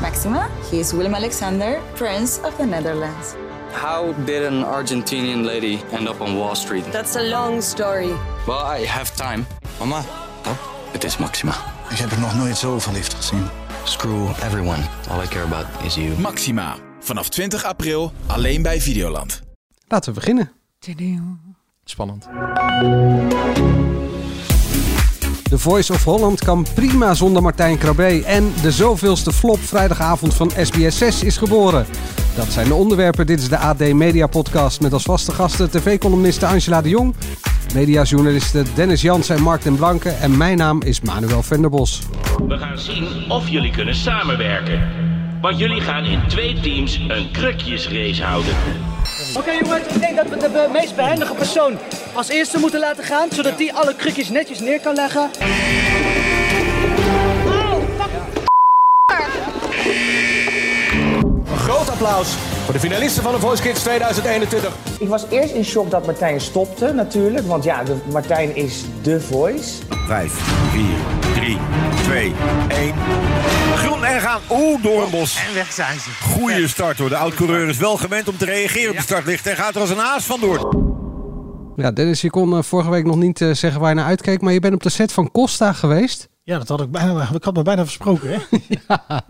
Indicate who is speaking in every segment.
Speaker 1: Maxima. He is Willem Alexander, Prince of the Netherlands.
Speaker 2: How did an Argentinian lady end up on Wall Street?
Speaker 3: That's a long story.
Speaker 2: Well, I have time.
Speaker 4: Mama,
Speaker 2: Het is Maxima.
Speaker 5: Ik heb er nog nooit zo verliefd gezien.
Speaker 2: Screw everyone. All I care about is you.
Speaker 6: Maxima. Vanaf 20 april alleen bij Videoland.
Speaker 7: Laten we beginnen.
Speaker 4: spannend.
Speaker 7: De Voice of Holland kan prima zonder Martijn Krabbe. En de zoveelste flop vrijdagavond van SBS6 is geboren. Dat zijn de onderwerpen. Dit is de AD Media Podcast met als vaste gasten tv-columniste Angela de Jong. Mediajournalisten Dennis Jansen en Mark den Blanke. En mijn naam is Manuel Venderbos.
Speaker 8: We gaan zien of jullie kunnen samenwerken. Want jullie gaan in twee teams een krukjesrace houden.
Speaker 9: Oké jongens, ik denk dat we de be- meest behendige persoon als eerste moeten laten gaan, zodat die alle krukjes netjes neer kan leggen.
Speaker 10: Groot applaus voor de finalisten van de Voice Kids 2021.
Speaker 9: Ik was eerst in shock dat Martijn stopte natuurlijk, want ja, de, Martijn is de voice.
Speaker 11: 5, 4, 3, 2, 1. Groen en gaan. Oeh, door een bos. En weg zijn ze. Goeie start hoor. De oud-coureur is wel gewend om te reageren op het startlicht. En gaat er als een haas vandoor.
Speaker 7: Ja, Dennis, je kon eh, vorige week nog niet eh, zeggen waar je naar uitkeek. Maar je bent op de set van Costa geweest.
Speaker 12: Ja, dat had ik bijna. Ik had me bijna versproken, hè? ja.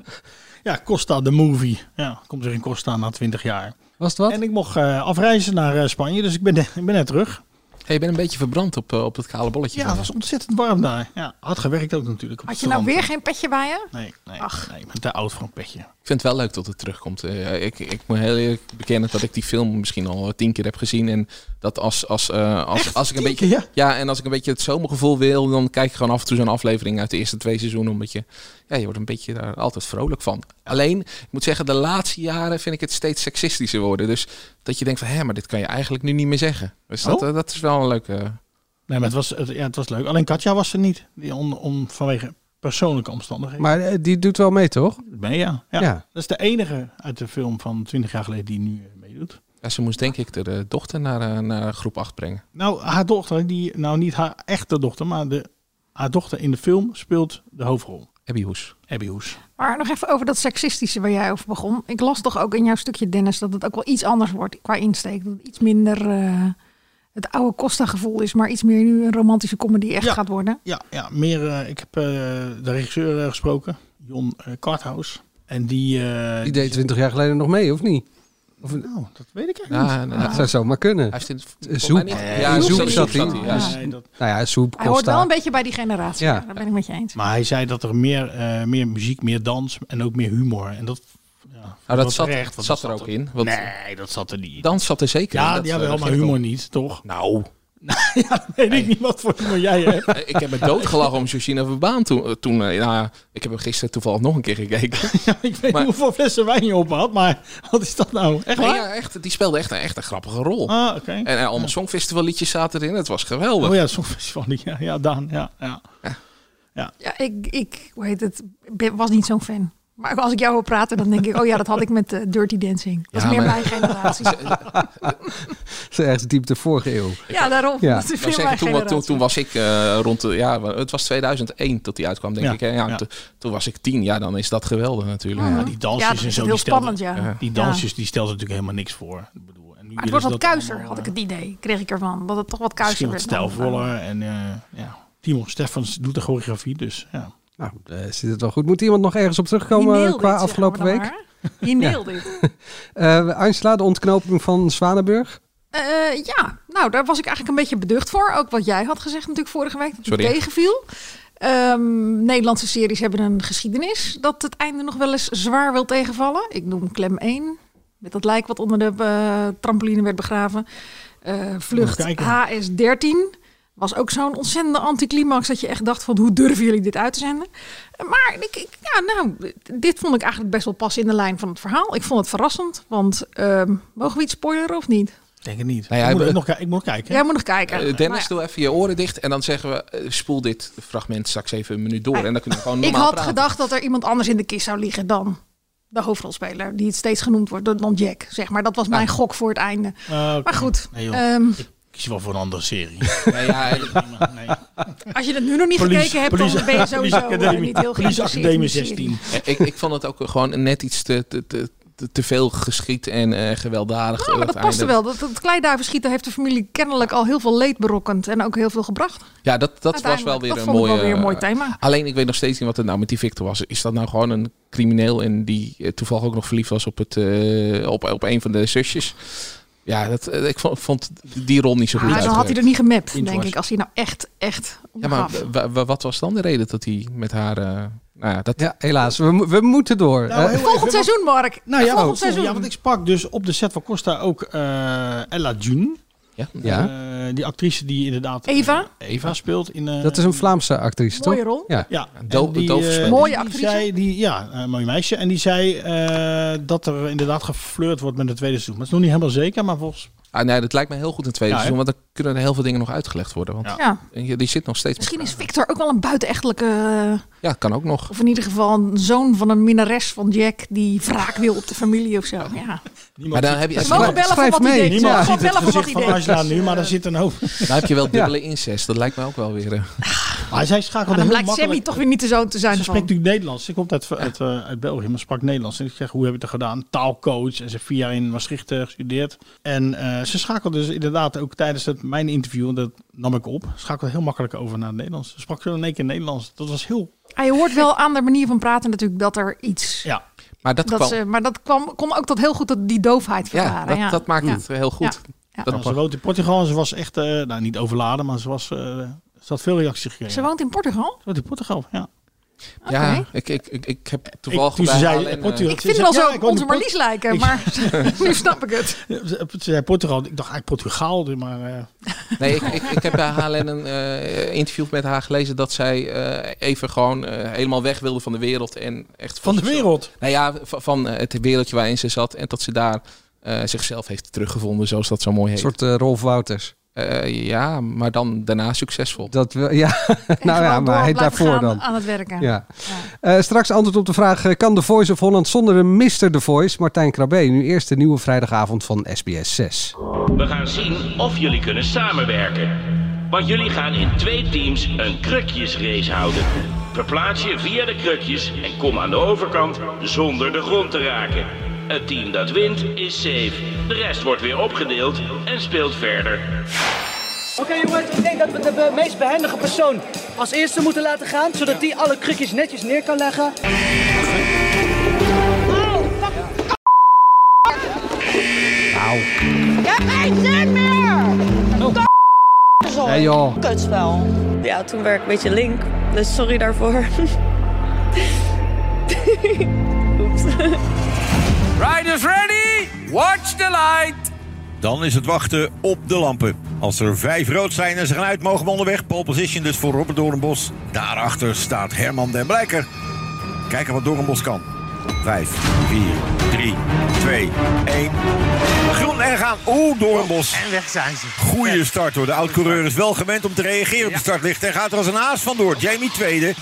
Speaker 12: Costa de Movie. Ja, komt er in Costa na 20 jaar.
Speaker 7: Was het wat?
Speaker 12: En ik mocht eh, afreizen naar eh, Spanje, dus ik ben, ik ben net terug.
Speaker 4: Hey, je bent een beetje verbrand op, eh, op dat kale bolletje.
Speaker 12: Ja,
Speaker 4: van
Speaker 12: het
Speaker 4: je.
Speaker 12: was ontzettend warm daar. Ja, had gewerkt ook natuurlijk. Op
Speaker 13: Had
Speaker 12: het
Speaker 13: je nou
Speaker 12: strand.
Speaker 13: weer geen petje bij je?
Speaker 12: Nee, nee,
Speaker 13: Ach.
Speaker 12: nee. Ik ben te oud voor een petje.
Speaker 4: Ik vind het wel leuk dat het terugkomt. Eh, ik, ik moet heel eerlijk bekennen dat ik die film misschien al tien keer heb gezien. En dat als, als, eh, als, als ik een
Speaker 12: Tien
Speaker 4: beetje.
Speaker 12: keer, ja.
Speaker 4: Ja, en als ik een beetje het zomergevoel wil, dan kijk ik gewoon af en toe zo'n aflevering uit de eerste twee seizoenen. Omdat je, ja, je wordt een beetje daar altijd vrolijk van. Alleen, ik moet zeggen, de laatste jaren vind ik het steeds seksistischer worden. Dus dat je denkt van, hé, maar dit kan je eigenlijk nu niet meer zeggen. Dus dat,
Speaker 12: Oh.
Speaker 4: eh, dat is wel een leuke...
Speaker 12: Nee, maar het was, het, ja, het was leuk. Alleen Katja was er niet. Die on, on- vanwege persoonlijke omstandigheden.
Speaker 7: Maar eh, die doet wel mee, toch?
Speaker 12: Nee, ja. Ja.
Speaker 7: Ja.
Speaker 12: Dat is de enige uit de film van 20 jaar geleden die nu eh, meedoet.
Speaker 4: Ja, ze moest denk ik de, eh, dochter naar, eh, naar groep 8 brengen.
Speaker 12: Nou, haar dochter, die, nou niet haar echte dochter, maar de, haar dochter in de film speelt de hoofdrol.
Speaker 4: Abby Hoes.
Speaker 12: Abby Hoes.
Speaker 13: Maar nog even over dat seksistische waar jij over begon. Ik las toch ook in jouw stukje, Dennis, dat het ook wel iets anders wordt qua insteek. Dat het iets minder eh, het oude Costa-gevoel is, maar iets meer nu een romantische comedy echt
Speaker 12: Ja.
Speaker 13: gaat worden.
Speaker 12: Ja, ja meer, eh, ik heb eh, de regisseur eh, gesproken, Jon eh, Karthaus. En die... eh,
Speaker 7: Die deed 20 jaar geleden nog mee, of niet? Of,
Speaker 12: Nou, dat weet ik eigenlijk niet.
Speaker 4: Ja, nou,
Speaker 7: Dat zou zomaar kunnen.
Speaker 4: hij is in het-
Speaker 7: Eh,
Speaker 4: volgens mij
Speaker 7: Zoep.
Speaker 4: niet-
Speaker 7: Eh,
Speaker 4: Ja,
Speaker 7: in
Speaker 4: Zoep
Speaker 7: Zoep
Speaker 4: zat
Speaker 7: zat
Speaker 4: hij.
Speaker 7: hij.
Speaker 4: Ja.
Speaker 12: Nee, dat-
Speaker 7: Nou ja, soep,
Speaker 13: Hij hoort
Speaker 7: Costa.
Speaker 13: wel een beetje bij die generatie,
Speaker 7: Ja.
Speaker 13: ja. daar ben ik met je eens.
Speaker 12: Maar hij zei dat er meer, eh, meer muziek, meer dans en ook meer humor. En dat... Ja,
Speaker 4: Nou,
Speaker 12: wel
Speaker 4: dat zat,
Speaker 12: terecht, want
Speaker 4: zat er
Speaker 12: dat
Speaker 4: ook in. Want
Speaker 12: Nee, dat zat er niet in.
Speaker 4: Dans zat er zeker in.
Speaker 12: ja,
Speaker 4: dat,
Speaker 12: ja,
Speaker 4: eh,
Speaker 12: wel,
Speaker 4: dat
Speaker 12: maar
Speaker 4: ging ik
Speaker 12: humor
Speaker 4: om.
Speaker 12: niet, toch?
Speaker 4: Nou,
Speaker 12: ja, dat weet ik niet wat voor humor jij hebt.
Speaker 4: eh, ik heb me doodgelachen om Georgina Verbaan toen. eh, toen eh, nou, ja, ik heb hem gisteren toevallig nog een keer gekeken.
Speaker 12: ik weet
Speaker 4: Maar-
Speaker 12: niet hoeveel flessen wijn je op had, maar wat is dat nou? Echt
Speaker 4: Nee,
Speaker 12: waar?
Speaker 4: ja, echt, die speelde echt een, echt een grappige rol.
Speaker 12: Ah, oké.
Speaker 4: En, en allemaal songfestivalliedjes zaten erin. Het was geweldig.
Speaker 12: Oh ja, Songfestival. Ja, ja Daan. Ja, ja.
Speaker 13: Ja, ik, ik hoe heet het, ben- was niet zo'n fan. Maar als ik jou hoor praten, dan denk ik, oh ja, dat had ik met eh, Dirty Dancing. Dat
Speaker 4: Ja,
Speaker 13: is meer
Speaker 4: maar-
Speaker 13: mijn generatie.
Speaker 4: Eh,
Speaker 7: Dat is echt diep de vorige eeuw.
Speaker 13: Ja, daarom.
Speaker 7: Ja.
Speaker 13: Dat is
Speaker 4: Ik wou zeggen,
Speaker 13: meer mijn
Speaker 4: toen, wa-
Speaker 13: generatie.
Speaker 4: toen, toen was ik eh, rond de, ja, wa- het was 2001 dat die uitkwam, denk
Speaker 12: Ja,
Speaker 4: ik. Hè? Ja,
Speaker 12: ja.
Speaker 4: to- toen was ik tien, ja, dan is dat geweldig natuurlijk.
Speaker 12: Ja, die dansjes
Speaker 13: Ja, dat is
Speaker 12: en zo.
Speaker 13: heel
Speaker 12: die stelden-
Speaker 13: spannend, ja.
Speaker 12: Die
Speaker 13: Ja.
Speaker 12: dansjes, die stelden natuurlijk helemaal niks voor. Ik bedoel, en nu
Speaker 13: Maar
Speaker 12: willen
Speaker 13: het wordt
Speaker 12: ze
Speaker 13: wat
Speaker 12: dat
Speaker 13: kuiser,
Speaker 12: allemaal,
Speaker 13: had ik
Speaker 12: eh,
Speaker 13: het idee. Kreeg ik ervan. Dat het toch wat kuiser
Speaker 12: Misschien wat
Speaker 13: werd. dan-
Speaker 12: stijlvoller. En eh, ja, Timon Stefans doet de choreografie, dus ja.
Speaker 7: Nou, eh, zit het wel goed. Moet iemand nog ergens op
Speaker 13: Die
Speaker 7: terugkomen
Speaker 13: nailed
Speaker 7: eh, qua
Speaker 13: it,
Speaker 7: afgelopen
Speaker 13: zeggen
Speaker 7: week?
Speaker 13: we dan maar, hè? Die nailde dit.
Speaker 7: Eh Angela, de ontknoping van Zwanenburg.
Speaker 13: Eh, ja, nou daar was ik eigenlijk een beetje beducht voor. Ook wat jij had gezegd natuurlijk vorige week, dat het
Speaker 4: Sorry.
Speaker 13: tegenviel. Ehm, Nederlandse series hebben een geschiedenis dat het einde nog wel eens zwaar wil tegenvallen. Ik noem Klem 1, met dat lijk wat onder de eh, trampoline werd begraven. Eh, vlucht
Speaker 12: Moet kijken.
Speaker 13: HS13 was ook zo'n ontzettende anticlimax dat je echt dacht van hoe durven jullie dit uit te zenden? Eh, Maar ik, ik- ja, nou, dit vond ik eigenlijk best wel pas in de lijn van het verhaal. Ik vond het verrassend, want ehm, mogen we iets spoileren of niet?
Speaker 12: Ik denk het niet.
Speaker 4: Nou ja,
Speaker 12: ik, moet
Speaker 4: we-
Speaker 12: het nog, ki- ik moet nog kijken.
Speaker 13: Jij moet nog kijken.
Speaker 4: Eh,
Speaker 13: Maar
Speaker 4: Dennis,
Speaker 13: ja,
Speaker 4: doe even je oren dicht en dan zeggen we, eh, spoel dit fragment straks even een minuut door.
Speaker 13: Hey,
Speaker 4: En dan kunnen we gewoon
Speaker 13: Ah, ik
Speaker 4: normaal
Speaker 13: had
Speaker 4: praten.
Speaker 13: gedacht dat er iemand anders in de kist zou liggen dan de hoofdrolspeler, die het steeds genoemd wordt, dan Jack, zeg maar. Dat was mijn gok voor het einde.
Speaker 12: Eh, oké.
Speaker 13: Maar goed,
Speaker 12: Nee, joh.
Speaker 13: ehm,
Speaker 12: kies wel voor een andere serie.
Speaker 4: Nee, ja, eh,
Speaker 13: Als je dat nu nog niet
Speaker 12: Police-
Speaker 13: gekeken hebt, dan
Speaker 12: Police-
Speaker 13: ben je sowieso eh,
Speaker 12: Police
Speaker 13: niet heel
Speaker 12: Police
Speaker 13: geïnteresseerd in
Speaker 12: Academie
Speaker 13: de serie.
Speaker 12: 16.
Speaker 4: Ja, ik, ik vond het ook gewoon net iets te, te, te, te- te veel geschiet en eh, gewelddadig.
Speaker 13: Ja, Nou, maar dat paste wel. Dat, dat kleiduivenschieten heeft de familie kennelijk al heel veel leed berokkend. En ook heel veel gebracht.
Speaker 4: Ja, dat, dat was wel
Speaker 13: Uiteindelijk,
Speaker 4: weer
Speaker 13: dat
Speaker 4: een
Speaker 13: vond ik
Speaker 4: mooie...
Speaker 13: wel weer een mooi
Speaker 4: eh,
Speaker 13: thema.
Speaker 4: Alleen ik weet nog steeds niet wat er nou met die Victor was. Is dat nou gewoon een crimineel en die eh, toevallig ook nog verliefd was op, het, eh, op, op een van de zusjes? Ja, dat, eh, ik vond, vond die rol niet zo goed
Speaker 13: Maar Ah, dan had hij er
Speaker 4: uitgewerkt.
Speaker 13: niet gemapt,
Speaker 4: Intro
Speaker 13: denk
Speaker 4: was.
Speaker 13: ik. Als hij nou echt, echt om
Speaker 4: Ja, maar
Speaker 13: gaf.
Speaker 4: wa- wa- wat was dan de reden dat hij met haar... eh, nou ja, dat...
Speaker 7: ja, helaas. We, mo- we moeten door.
Speaker 12: Nou,
Speaker 7: Eh,
Speaker 12: heel
Speaker 13: Volgend
Speaker 12: even,
Speaker 13: seizoen, Mark.
Speaker 12: Nou ja,
Speaker 13: Volgend
Speaker 12: want,
Speaker 13: seizoen.
Speaker 12: ja, want ik sprak dus op de set van Costa ook eh, Ella June.
Speaker 4: Ja,
Speaker 7: Ja.
Speaker 12: Eh, die actrice die inderdaad
Speaker 13: Eva,
Speaker 12: Eva speelt in... eh,
Speaker 7: dat is een Vlaamse actrice, toch?
Speaker 13: mooie rol.
Speaker 7: Ja.
Speaker 12: Ja, en
Speaker 4: doof-
Speaker 12: die,
Speaker 4: doof
Speaker 12: eh,
Speaker 4: gespeeld.
Speaker 12: die-
Speaker 13: Mooie
Speaker 12: die
Speaker 13: actrice.
Speaker 12: zei- die, ja, een mooi meisje. En die zei eh, dat er inderdaad geflirt wordt met het tweede seizoen. Maar het is nog niet helemaal zeker, maar volgens...
Speaker 4: Ah, nee, dat lijkt me heel goed in het tweede
Speaker 12: Ja, hè?
Speaker 4: seizoen, want dan kunnen er heel veel dingen nog uitgelegd worden. Want
Speaker 12: Ja.
Speaker 13: Ja.
Speaker 4: je- die zit nog steeds... met
Speaker 13: Misschien is
Speaker 4: elkaar.
Speaker 13: Victor ook wel een buitenechtelijke... eh,
Speaker 4: Ja, kan ook nog.
Speaker 13: Of in ieder geval een zoon van een minnares van Jack... die wraak wil op de familie of zo. Ja.
Speaker 4: Maar dan heb je,
Speaker 13: Ze mogen bellen voor
Speaker 7: Schrijf
Speaker 13: wat hij
Speaker 7: mee.
Speaker 13: deed. Ze
Speaker 12: Niemand
Speaker 13: mogen
Speaker 12: ziet het
Speaker 13: gewoon bellen voor wat
Speaker 12: gezicht van
Speaker 13: hij deed.
Speaker 12: Angela nu, maar daar zit een hoop.
Speaker 4: Dan heb je wel dubbele incest. Dat lijkt me ook wel weer. eh.
Speaker 12: Maar zij schakelde
Speaker 13: Maar dan
Speaker 12: heel
Speaker 13: blijkt Sammy
Speaker 12: makkelijk.
Speaker 13: toch weer niet de zoon te zijn
Speaker 12: Ze
Speaker 13: van.
Speaker 12: spreekt natuurlijk Nederlands. Ze komt uit, uit, eh, uit België, maar sprak Nederlands. En ik zeg, hoe heb je het gedaan? Taalcoach. En ze heeft vier jaar in Maastricht eh, gestudeerd. En eh, ze schakelde dus inderdaad ook tijdens het, mijn interview, en dat nam ik op, schakelde heel makkelijk over naar het Nederlands. Ze sprak zo in één keer Nederlands. Dat was heel...
Speaker 13: Ah, je hoort wel aan de manier van praten natuurlijk dat er iets...
Speaker 12: Ja,
Speaker 4: Maar dat,
Speaker 13: Dat
Speaker 4: kwam.
Speaker 13: ze, maar dat kwam, kon ook dat heel goed dat die doofheid verklaren.
Speaker 4: ja, dat, dat maakt
Speaker 13: Ja.
Speaker 4: het eh, heel goed.
Speaker 13: Ja.
Speaker 4: Dat
Speaker 12: Nou, ze woont in Portugal en ze was echt, eh, nou niet overladen, maar ze, was, eh, ze had veel reacties gekregen.
Speaker 13: Ze woont in Portugal?
Speaker 12: Ze woont in Portugal, ja.
Speaker 4: ja ik, ik, ik, ik heb toevallig
Speaker 12: toen ze
Speaker 4: bij
Speaker 12: zei,
Speaker 4: Alan, eh,
Speaker 12: Portugal.
Speaker 13: Ik
Speaker 12: Ze
Speaker 13: vind het
Speaker 12: zei,
Speaker 13: al zo
Speaker 12: ja, ik woon in
Speaker 13: onze
Speaker 12: Port-
Speaker 13: Marlies lijken,
Speaker 12: Ik-
Speaker 13: maar nu snap ik het.
Speaker 12: Ze ze zei Portugal. Ik dacht eigenlijk Portugaal, maar... eh,
Speaker 4: nee, ik, ik, ik heb bij HLN een eh, interview met haar gelezen dat zij eh, even gewoon eh, helemaal weg wilde van de wereld. En echt
Speaker 12: van de
Speaker 4: zichzelf-
Speaker 12: wereld.
Speaker 4: Nou ja, van, van eh, het wereldje waarin ze zat. En dat ze daar eh, zichzelf heeft teruggevonden, zoals dat zo mooi
Speaker 7: Een
Speaker 4: heet.
Speaker 7: soort eh, Rolf Wouters.
Speaker 4: Eh, ja, maar dan daarna succesvol.
Speaker 7: Dat we, ja, nou ja,
Speaker 13: Gewoon door
Speaker 7: maar hij
Speaker 13: blijven
Speaker 7: daarvoor
Speaker 13: gaan
Speaker 7: dan.
Speaker 13: Aan het werken.
Speaker 7: Ja. Eh, straks antwoord op de vraag: eh, kan de Voice of Holland zonder een Mr. The Voice? Martijn Krabbe, nu eerst de nieuwe vrijdagavond van SBS 6.
Speaker 8: We gaan zien of jullie kunnen samenwerken. Want jullie gaan in twee teams een krukjesrace houden. Verplaats je via de krukjes en kom aan de overkant zonder de grond te raken. Het team dat wint is safe. De rest wordt weer opgedeeld en speelt verder.
Speaker 9: Oké jongens, ik denk dat we de be- meest behendige persoon als eerste moeten laten gaan, zodat die alle krukjes netjes neer kan leggen.
Speaker 7: Hey joh.
Speaker 3: Kutspel. Ja, toen werd ik een beetje link. Dus sorry daarvoor.
Speaker 14: Riders ready, watch the light.
Speaker 11: Dan is het wachten op de lampen. Als er vijf rood zijn en ze gaan uit, mogen we onderweg. Pole position dus voor Robert Doornbos. Daarachter staat Herman den Blijker. Kijken wat Doornbos kan. Vijf, vier, drie, twee, één. Groen en gaan. Oeh, Doornbos. En weg zijn ze. Goeie start hoor. De oud-coureur is wel gewend om te reageren op de startlicht. En gaat er als een haas vandoor. Jamie tweede.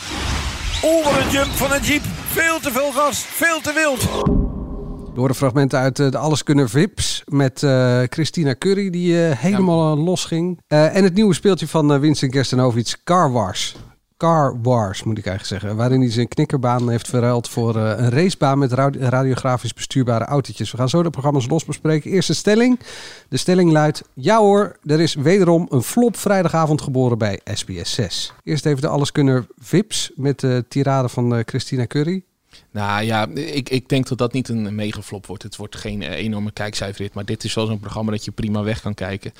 Speaker 11: Onder een jump van een jeep. Veel te veel gas. Veel te wild.
Speaker 7: Door de fragmenten uit eh, de Alles Kunnen Vips met eh, Christina Curry, die eh, helemaal eh, los ging. Eh, en het nieuwe speeltje van eh, Winston Kerstenhovic, Car Wars. Car Wars moet ik eigenlijk zeggen. Waarin hij zijn knikkerbaan heeft verruild voor eh, een racebaan met radi- radiografisch bestuurbare autootjes. We gaan zo de programma's los bespreken. Eerste stelling. De stelling luidt: Ja hoor, er is wederom een flop vrijdagavond geboren bij SBS 6. Eerst even de Alles Kunnen Vips met de tirade van eh, Christina Curry.
Speaker 4: Nou ja, ik, ik denk dat dat niet een megaflop wordt. Het wordt geen eh, enorme kijkcijferhit. Maar dit is wel zo'n programma dat je prima weg kan kijken.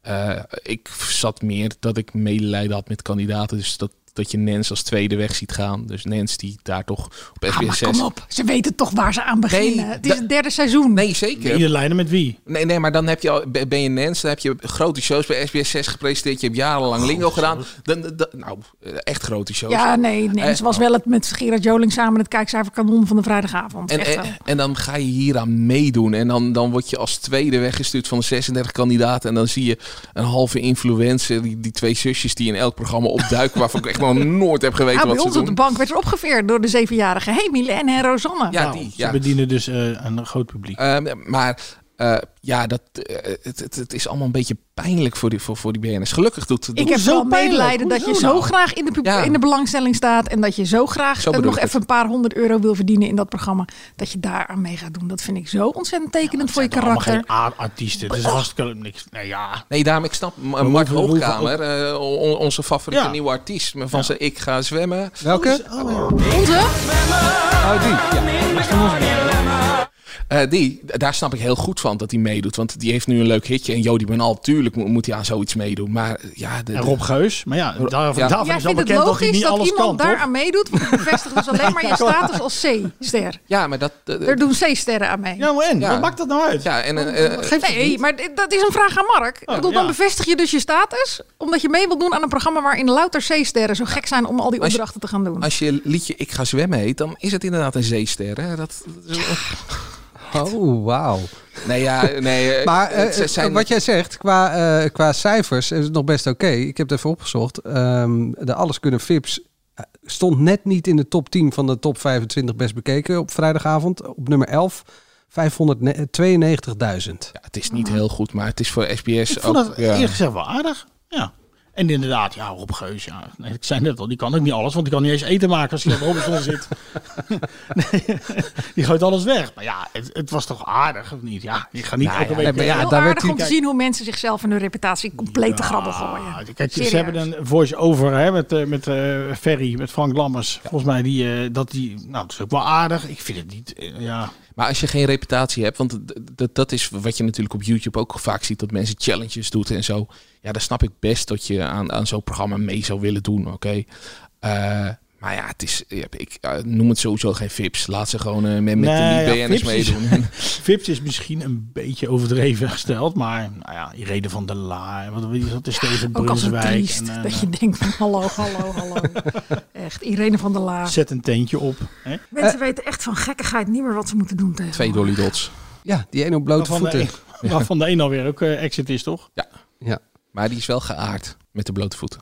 Speaker 4: Eh, ik zat meer dat ik medelijden had met kandidaten. Dus dat, dat je Nens als tweede weg ziet gaan. Dus Nens die daar toch op
Speaker 13: Ah, maar
Speaker 4: SBS 6...
Speaker 13: kom op, ze weten toch waar ze aan beginnen.
Speaker 4: Nee,
Speaker 13: het is het derde seizoen.
Speaker 4: Nee, zeker.
Speaker 12: Ieder lijnen met wie?
Speaker 4: Nee, nee, maar dan heb je al, ben je Nens, dan heb je grote shows bij SBS 6 gepresenteerd. Je hebt jarenlang Lingo gedaan. Dan, dan- nou, echt grote shows.
Speaker 13: Ja, nee, nee. Ze
Speaker 4: Eh,
Speaker 13: was wel het met Gerard Joling samen het kijkcijferkanon van de vrijdagavond.
Speaker 4: En,
Speaker 13: Echt
Speaker 4: en,
Speaker 13: wel.
Speaker 4: en dan ga je hieraan meedoen. En dan, dan word je als tweede weggestuurd van de 36 kandidaten. En dan zie je een halve influencer. Die, die twee zusjes die in elk programma opduiken. waarvan ik echt nog nooit heb geweten
Speaker 13: Ah, bij
Speaker 4: wat ze
Speaker 13: ons op de
Speaker 4: doen.
Speaker 13: bank werd er opgeveerd door de zevenjarige. Hey, Milene en eh, Rosanne.
Speaker 12: Oh,
Speaker 4: Ja, die.
Speaker 12: Nou, Ze
Speaker 4: Ja.
Speaker 12: bedienen dus eh, een groot publiek.
Speaker 4: Ehm, maar Eh, ja, dat, eh, het, het, het is allemaal een beetje pijnlijk voor die, voor, voor die BNS. Gelukkig doet het
Speaker 13: Ik heb
Speaker 4: zo
Speaker 13: wel medelijden dat je
Speaker 4: Hoezo
Speaker 13: zo
Speaker 4: nou?
Speaker 13: graag in de, pub-
Speaker 4: Ja.
Speaker 13: in de belangstelling staat. En dat je zo graag
Speaker 4: Zo
Speaker 13: eh,
Speaker 4: bedoel
Speaker 13: nog
Speaker 4: ik het.
Speaker 13: even een paar honderd euro wil verdienen in dat programma. Dat je daar aan mee gaat doen. Dat vind ik zo ontzettend tekenend voor je
Speaker 12: Allemaal
Speaker 13: karakter. Oh.
Speaker 12: geen A-artiesten. Het is hartstikke niks. Nee, ja.
Speaker 4: Nee, daarom, ik snap M- Mark
Speaker 12: hoeven- hoeven-
Speaker 4: Hoogkamer, eh, on- on- onze favoriete
Speaker 12: Ja.
Speaker 4: nieuwe artiest. Van zijn Ik Ga Zwemmen.
Speaker 7: Welke?
Speaker 13: Onze?
Speaker 7: Oh, die. Ja.
Speaker 4: Eh, die, daar snap ik heel goed van dat hij meedoet. Want die heeft nu een leuk hitje. En Jody Benal, tuurlijk mo- moet hij aan zoiets meedoen. Maar eh, ja... De,
Speaker 12: En Rob Geus. Maar ja, daar,
Speaker 4: Ja.
Speaker 12: daarvan
Speaker 13: Jij
Speaker 12: is wel
Speaker 13: vindt het
Speaker 12: bekend dat hij
Speaker 13: logisch
Speaker 12: niet
Speaker 13: dat,
Speaker 12: alles kan,
Speaker 13: iemand
Speaker 12: toch?
Speaker 13: daar aan meedoet. Want het bevestigt dus alleen maar je status als C-ster.
Speaker 4: Ja, maar dat... eh,
Speaker 13: Er doen C-sterren aan mee.
Speaker 12: Ja, maar en?
Speaker 4: Ja.
Speaker 12: Wat maakt dat nou uit?
Speaker 4: ja, en, eh, eh,
Speaker 12: Geeft het
Speaker 13: Nee,
Speaker 12: niet.
Speaker 13: maar dit- Oh, dat is een vraag aan Mark. Ik bedoel, dan
Speaker 12: Oh, ja.
Speaker 13: bevestig je dus je status. Omdat je mee wilt doen aan een programma waarin louter C-sterren zo gek zijn om al die
Speaker 4: Als je-
Speaker 13: opdrachten te gaan doen.
Speaker 4: als je liedje Ik Ga Zwemmen heet, dan is het inderdaad een zeester. Hè? Dat, dat is-
Speaker 7: Oh, wauw.
Speaker 4: Nee, ja, nee. eh,
Speaker 7: Maar eh,
Speaker 4: het ze- zijn-
Speaker 7: wat jij zegt, qua, eh, qua cijfers is het nog best oké. Ik heb het even opgezocht. Ehm, de Alles Kunnen Vips eh, stond net niet in de top 10 van de top 25 best bekeken op vrijdagavond. Op nummer 11, 592.000.
Speaker 4: Ja, het is niet heel goed, maar het is voor SBS
Speaker 12: Ik vond
Speaker 4: ook...
Speaker 12: dat
Speaker 4: ja.
Speaker 12: eerlijk gezegd wel aardig. Ja. En inderdaad, ja, Rob Geus, ja. Nee, ik zei net al, die kan ook niet alles, want die kan niet eens eten maken als hij op Robinson zit. nee, die gooit alles weg. Maar ja, het, het was toch aardig, of niet? Ja, je gaat niet
Speaker 4: Nou
Speaker 12: elke
Speaker 4: ja,
Speaker 12: week...
Speaker 7: maar ja,
Speaker 13: Heel
Speaker 7: daar werd
Speaker 13: aardig
Speaker 7: die-
Speaker 13: om te zien hoe mensen zichzelf en hun reputatie compleet te grabbel gooien.
Speaker 12: Ah, Kijk,
Speaker 13: Serieus.
Speaker 12: ze hebben een voice-over hè, met, eh, met eh, Ferry, met Frank Lammers. Volgens mij, die, eh, dat die... Nou, dat is ook wel aardig. Ik vind het niet... eh, ja.
Speaker 4: Maar als je geen reputatie hebt, want d- d- dat is wat je natuurlijk op YouTube ook vaak ziet, dat mensen challenges doet en zo. Ja, dan snap ik best dat je aan, aan zo'n programma mee zou willen doen, oké. Eh, maar ja, het is, ja, ik eh, noem het sowieso geen vips. Laat ze gewoon eh, met, met
Speaker 12: Nee,
Speaker 4: de
Speaker 12: ja,
Speaker 4: BN'ers
Speaker 12: Vips is-
Speaker 4: meedoen.
Speaker 12: Vips is misschien een beetje overdreven gesteld, maar nou ja, Irene van der Laar, wat weet je, dat is tegen
Speaker 13: Ook als een
Speaker 12: Brunswijk.
Speaker 13: triest,
Speaker 12: en, eh,
Speaker 13: dat je denkt van hallo, hallo, hallo. Echt, Irene van der Laar.
Speaker 12: nou, Zet een teentje op. Hè?
Speaker 13: Mensen weten echt van gekkigheid niet meer wat ze moeten doen tegen.
Speaker 4: Twee Dolly Dots.
Speaker 7: Ja, die ene op blote
Speaker 12: Waarvan de,
Speaker 7: voeten.
Speaker 12: een, waarvan de een alweer ook eh, exit is, toch?
Speaker 7: Ja.
Speaker 4: Maar die is wel geaard met de blote voeten.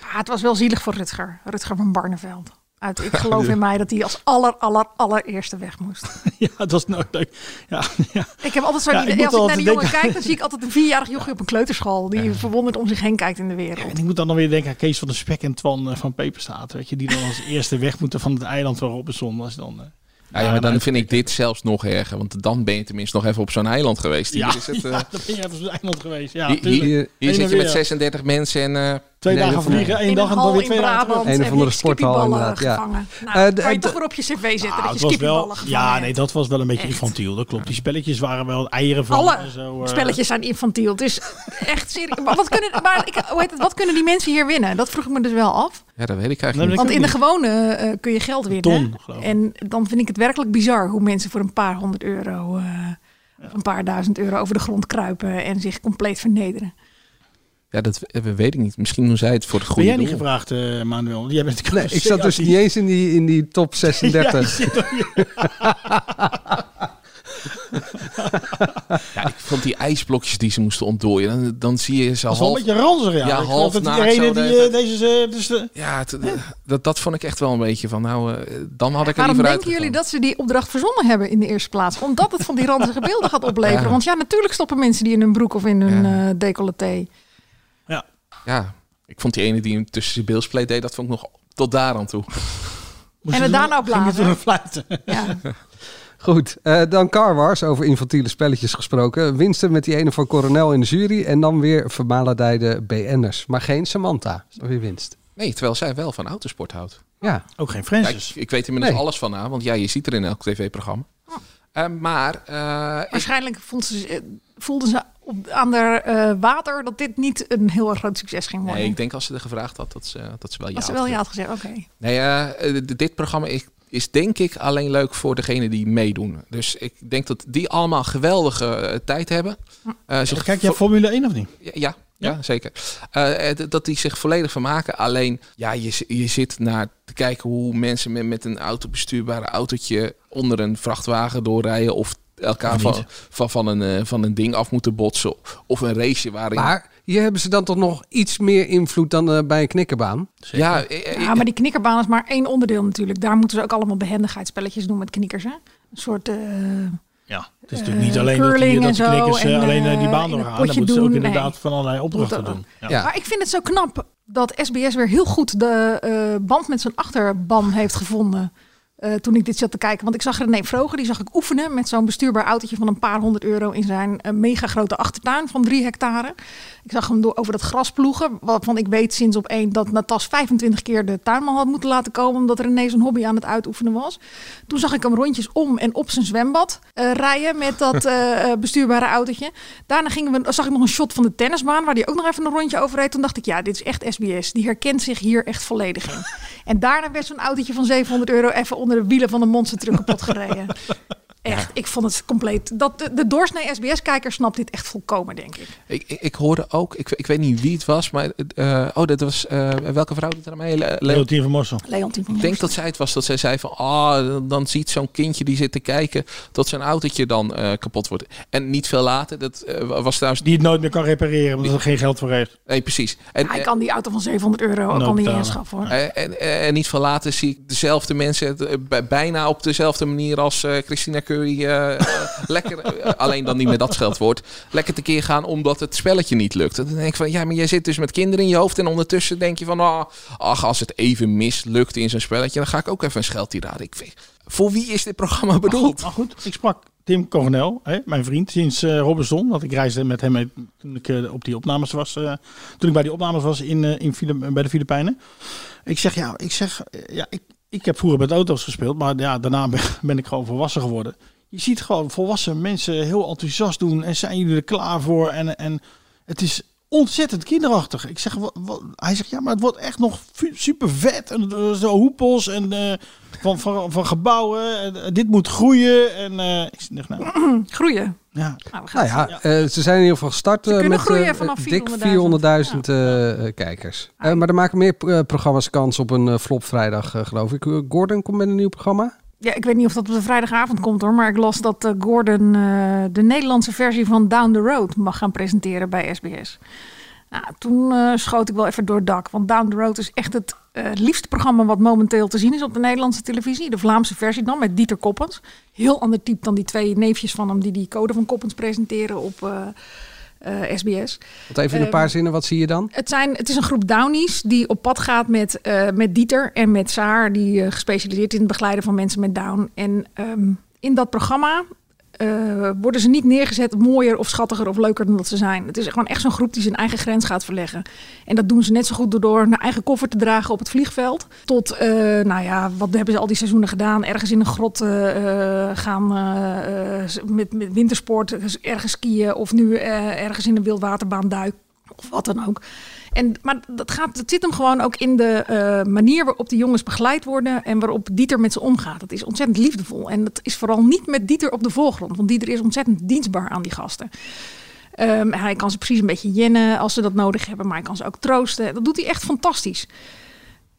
Speaker 13: Ah, het was wel zielig voor Rutger. Rutger van Barneveld. Uit, ik geloof in mij dat hij als aller, aller, allereerste weg moest.
Speaker 12: ja, dat is nooit leuk. Ja, ja.
Speaker 13: Ik heb altijd zo'n
Speaker 12: Ja, ik
Speaker 13: idee,
Speaker 12: moet
Speaker 13: als ik naar
Speaker 12: altijd
Speaker 13: die jongen
Speaker 12: denken-
Speaker 13: kijk, dan zie ik altijd een vierjarig jochie op een kleuterschool. Die verwonderd om zich heen kijkt in de wereld.
Speaker 12: En ik moet dan alweer denken aan Kees van de Spek en Twan eh, van Peperstaat, weet je, die dan als eerste weg moeten van het eiland van Robinson. Dat is dan... eh,
Speaker 4: Ja, ja, maar dan
Speaker 12: nou,
Speaker 4: vind ik dit zelfs nog erger, want dan ben je tenminste nog even op zo'n eiland geweest. Hier,
Speaker 12: ja,
Speaker 4: is het, eh,
Speaker 12: ja, dan ben je even op het eiland geweest. Ja,
Speaker 4: hier, hier-
Speaker 12: tuurlijk.
Speaker 4: hier
Speaker 12: Heen en
Speaker 4: zit je met
Speaker 12: weer.
Speaker 4: 36 mensen en... eh,
Speaker 12: Twee
Speaker 4: nee,
Speaker 12: dagen
Speaker 4: dat-
Speaker 12: vliegen, één
Speaker 13: in
Speaker 12: dag
Speaker 13: een
Speaker 12: en dan
Speaker 13: hal
Speaker 12: weer
Speaker 13: in
Speaker 12: twee dagen terug.
Speaker 13: Brabant
Speaker 7: Een of
Speaker 13: heb
Speaker 7: andere
Speaker 13: je
Speaker 7: sporthal
Speaker 13: skippieballen
Speaker 7: inderdaad, ja.
Speaker 13: gevangen.
Speaker 7: Eh,
Speaker 13: Nou,
Speaker 7: de-
Speaker 13: kan je
Speaker 7: de-
Speaker 13: toch weer op je cv zetten
Speaker 12: Ah,
Speaker 13: dat
Speaker 12: het
Speaker 13: je
Speaker 12: was wel-
Speaker 13: skippieballen gevangen
Speaker 12: ja,
Speaker 13: hebt.
Speaker 12: nee, dat was wel een beetje
Speaker 13: Echt.
Speaker 12: infantiel. Dat klopt. Die spelletjes waren wel eieren van.
Speaker 13: Alle
Speaker 12: en zo, eh.
Speaker 13: spelletjes zijn infantiel. Dus echt serieus. Maar, wat kunnen, maar ik, hoe heet het, wat kunnen die mensen hier winnen? Dat vroeg ik me dus wel af.
Speaker 4: Ja, dat weet ik
Speaker 12: Nee,
Speaker 4: eigenlijk niet.
Speaker 12: maar
Speaker 13: Want
Speaker 12: ook
Speaker 13: in de
Speaker 12: niet.
Speaker 13: gewone eh, kun je geld winnen.
Speaker 12: ton, geloof ik.
Speaker 13: en dan vind ik het werkelijk bizar hoe mensen voor een paar honderd euro... eh, of een paar duizend euro over de grond kruipen en zich compleet vernederen.
Speaker 4: Ja, dat eh, weet ik niet. Misschien doen zij het voor het
Speaker 12: ben
Speaker 4: goede
Speaker 12: jij niet
Speaker 4: doel.
Speaker 12: gevraagd, eh, Manuel? Jij bent de
Speaker 7: Nee, ik zat dus niet eens in die, in die top 36.
Speaker 4: Ja, ik vond die ijsblokjes die ze moesten ontdooien. Dan, dan zie je ze
Speaker 12: Dat is wel
Speaker 4: half...
Speaker 12: een beetje ranzig, ja.
Speaker 4: Ja,
Speaker 12: Ik geloof
Speaker 4: half
Speaker 12: dat
Speaker 4: naakt
Speaker 12: diegene
Speaker 4: zo
Speaker 12: die
Speaker 4: deed.
Speaker 12: eh, deze... eh, dus, de-
Speaker 4: Ja, het- eh, dat, dat vond ik echt wel een beetje van... Nou, eh, dan had ik er
Speaker 13: Waarom
Speaker 4: liever
Speaker 13: denken
Speaker 4: uit
Speaker 13: jullie dat ze die opdracht verzonnen hebben in de eerste plaats? Omdat het van die ranzige beelden gaat opleveren.
Speaker 4: Ja.
Speaker 13: Want ja, natuurlijk stoppen mensen die in hun broek of in hun eh, decolleté.
Speaker 4: Ja, ik vond die ene die hem tussen zijn beelspleet deed... dat vond ik nog tot daar aan toe.
Speaker 12: moest je
Speaker 13: En het nou
Speaker 12: doen-
Speaker 13: daarna
Speaker 12: ging je
Speaker 13: opblazen.
Speaker 12: toen een fluiten.
Speaker 13: Ja.
Speaker 7: Goed, eh, dan Car Wars, over infantiele spelletjes gesproken. Winsten met die ene van Coronel in de jury en dan weer vermalendijde BN'ers. Maar geen Samantha, is dan weer winst.
Speaker 4: Nee, terwijl zij wel van autosport houdt.
Speaker 7: Ja,
Speaker 12: Ook geen
Speaker 4: Ja,
Speaker 12: Francis.
Speaker 4: ik, ik weet inmiddels
Speaker 7: Nee.
Speaker 4: alles van haar. Want ja, je ziet er in elk tv-programma. Eh, maar... eh, ik-
Speaker 13: Oh. Waarschijnlijk vond ze, eh, voelden ze op, aan haar eh, water dat dit niet een heel erg groot succes ging worden.
Speaker 4: Nee, ik denk als ze er gevraagd had, dat ze, dat ze wel ja
Speaker 13: Als ze
Speaker 4: had
Speaker 13: wel ja
Speaker 4: gezegd.
Speaker 13: had gezegd, oké.
Speaker 4: Nee, eh, d- dit programma is, is denk ik alleen leuk voor degene die meedoen. Dus ik denk dat die allemaal geweldige eh, tijd hebben. Eh, zich
Speaker 12: Kijk jij
Speaker 4: vo-
Speaker 12: Formule 1 of niet?
Speaker 4: Ja, ja,
Speaker 12: Ja?
Speaker 4: ja, zeker. Eh, eh, d- dat die zich volledig vermaken. Alleen, ja, je, zi- je zit naar te kijken hoe mensen met, met een autobestuurbare autootje onder een vrachtwagen doorrijden of elkaar
Speaker 12: Of
Speaker 4: van,
Speaker 12: niet.
Speaker 4: van, van, een, eh, van een ding af moeten botsen. Of een raceje waarin...
Speaker 7: maar hier hebben ze dan toch nog iets meer invloed dan eh, bij een knikkerbaan.
Speaker 4: ja, eh, eh,
Speaker 13: Ja, maar die knikkerbaan is maar één onderdeel natuurlijk. Daar moeten ze ook allemaal behendigheidsspelletjes doen met knikkers. Hè? Een soort eh,
Speaker 12: Ja, het is natuurlijk niet alleen dat die,
Speaker 13: curling
Speaker 12: dat die
Speaker 13: en zo
Speaker 12: knikkers eh,
Speaker 13: en,
Speaker 12: alleen eh, die
Speaker 13: eh,
Speaker 12: baan
Speaker 13: en een
Speaker 12: doorgaan. Dan
Speaker 13: potje
Speaker 12: moeten ze ook
Speaker 13: doen.
Speaker 12: inderdaad
Speaker 13: Nee.
Speaker 12: van allerlei opdrachten
Speaker 13: Moet dat-
Speaker 12: doen.
Speaker 13: Maar ik vind het zo knap dat SBS weer heel goed de eh, band met zijn achterban heeft gevonden. eh, toen ik dit zat te kijken. Want ik zag René Vroger, die zag ik oefenen met zo'n bestuurbaar autootje van een paar honderd euro in zijn eh, mega grote achtertuin van drie hectare. Ik zag hem door, over dat gras ploegen. Waarvan ik weet sinds op één dat Natas 25 keer de tuinman had moeten laten komen. Omdat René zijn hobby aan het uitoefenen was. Toen zag ik hem rondjes om en op zijn zwembad eh, rijden met dat eh, eh, bestuurbare autootje. Daarna gingen we, zag ik nog een shot van de tennisbaan waar hij ook nog even een rondje over reed. Toen dacht ik, ja, dit is echt SBS. Die herkent zich hier echt volledig in. En daarna werd zo'n autootje van 700 euro even onder de wielen van de monster truck kapot gereden. Echt, ik vond het compleet. Dat, de, de doorsnee SBS-kijker snapt dit echt volkomen, denk ik.
Speaker 4: Ik, ik, ik hoorde ook, ik, ik weet niet wie het was, maar eh, oh, dat was eh, welke vrouw doet er aan mee? Le- Le-
Speaker 12: Leontien van Morsel.
Speaker 13: Leontien van
Speaker 4: Ik denk dat zij het was dat zij zei van, ah, dan ziet zo'n kindje die zit te kijken dat zijn autootje dan eh, kapot wordt. En niet veel later, dat eh, was trouwens...
Speaker 12: Die het nooit meer kan repareren, omdat er geen geld voor heeft.
Speaker 4: Nee, precies. En,
Speaker 13: Hij
Speaker 4: eh,
Speaker 13: kan die auto van 700 euro ook
Speaker 4: Nou,
Speaker 13: al niet
Speaker 4: betalen.
Speaker 13: aanschaffen, hoor.
Speaker 4: eh, en, eh, en niet veel later zie ik dezelfde mensen het, eh, bij- bijna op dezelfde manier als eh, Christina Curry eh, eh, lekker, eh, alleen dan niet meer dat scheldwoord, lekker tekeer gaan omdat het spelletje niet lukt. Dan denk ik van, ja, maar jij zit dus met kinderen in je hoofd en ondertussen denk je van, ah, ach, als het even mislukt in zo'n spelletje, dan ga ik ook even een scheldtirade. Ik vind, voor wie is dit programma bedoeld?
Speaker 12: Maar goed, ik sprak Tim Coronel, hè, mijn vriend, sinds eh Robinson. Want ik reisde met hem mee toen ik eh, op die opnames was. eh, toen ik bij die opnames was in, eh, in Fili- bij de Filipijnen. Ik zeg, ja, ik zeg, eh, ja, ik, ik heb vroeger met auto's gespeeld. Maar ja, daarna ben, ben ik gewoon volwassen geworden. Je ziet gewoon volwassen mensen heel enthousiast doen. En zijn jullie er klaar voor? En, en het is ontzettend kinderachtig. Ik zeg, wa- wa- hij zegt, ja, maar het wordt echt nog fu- super vet. En eh, zo hoepels en eh, van, van, van gebouwen. En, eh, dit moet groeien. En eh, ik zeg, nou,
Speaker 13: Groeien.
Speaker 12: Ja.
Speaker 13: Nou, we gaan
Speaker 7: Nou ja, eh, ze zijn in ieder geval gestart eh,
Speaker 13: kunnen
Speaker 7: met
Speaker 13: groeien
Speaker 7: eh,
Speaker 13: vanaf
Speaker 7: dik 400.000 eh, eh, kijkers. Eh, maar er maken meer eh, programma's kans op een eh, flop vrijdag, eh, geloof ik. Eh, Gordon komt met een nieuw programma.
Speaker 13: Ja, ik weet niet of dat op de vrijdagavond komt hoor. Maar ik las dat eh, Gordon eh, de Nederlandse versie van Down the Road mag gaan presenteren bij SBS. Nou, toen eh, schoot ik wel even door het dak. Want Down the Road is echt het eh, liefste programma wat momenteel te zien is op de Nederlandse televisie. De Vlaamse versie dan met Dieter Koppens. Heel ander type dan die twee neefjes van hem die die code van Koppens presenteren op eh, eh, SBS.
Speaker 7: Want even in een
Speaker 13: Ehm,
Speaker 7: paar zinnen, wat zie je dan?
Speaker 13: het, zijn, het is een groep Downies die op pad gaat met, eh, met Dieter en met Saar, die eh, gespecialiseerd in het begeleiden van mensen met Down. En ehm, in dat programma eh, worden ze niet neergezet mooier of schattiger of leuker dan dat ze zijn. Het is gewoon echt zo'n groep die zijn eigen grens gaat verleggen. En dat doen ze net zo goed door, door hun eigen koffer te dragen op het vliegveld. Tot, eh, nou ja, wat hebben ze al die seizoenen gedaan? Ergens in een grot eh, eh, gaan eh, eh, met, met wintersport, dus ergens skiën of nu eh, ergens in een wildwaterbaan duiken. Of wat dan ook. En, maar dat, gaat, dat zit hem gewoon ook in de eh, manier waarop die jongens begeleid worden. en waarop Dieter met ze omgaat. Dat is ontzettend liefdevol. En dat is vooral niet met Dieter op de voorgrond. Want Dieter is ontzettend dienstbaar aan die gasten. Ehm, hij kan ze precies een beetje jennen als ze dat nodig hebben. Maar hij kan ze ook troosten. Dat doet hij echt fantastisch.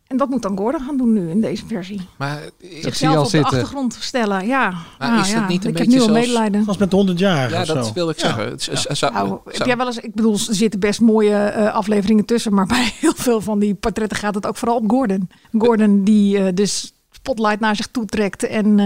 Speaker 13: En dat moet dan Gordon gaan doen nu in deze versie.
Speaker 4: Maar
Speaker 13: Zichzelf op de achtergrond stellen. Ja,
Speaker 4: Maar
Speaker 13: Nou
Speaker 4: is dat
Speaker 13: ja,
Speaker 4: niet een
Speaker 13: ik
Speaker 4: beetje
Speaker 13: heb nu al
Speaker 4: zelfs-
Speaker 13: medelijden.
Speaker 12: was met 100 jaar.
Speaker 4: eh, Ja,
Speaker 12: of
Speaker 4: dat
Speaker 12: zo.
Speaker 4: wil ik zeggen. Het is- is- zou-
Speaker 13: Nou,
Speaker 4: zou-
Speaker 13: heb jij wel eens, ik bedoel, er zitten best mooie eh, afleveringen tussen, maar bij heel veel van die portretten gaat het ook vooral op Gordon. Gordon die eh, de spotlight naar zich toe trekt en eh,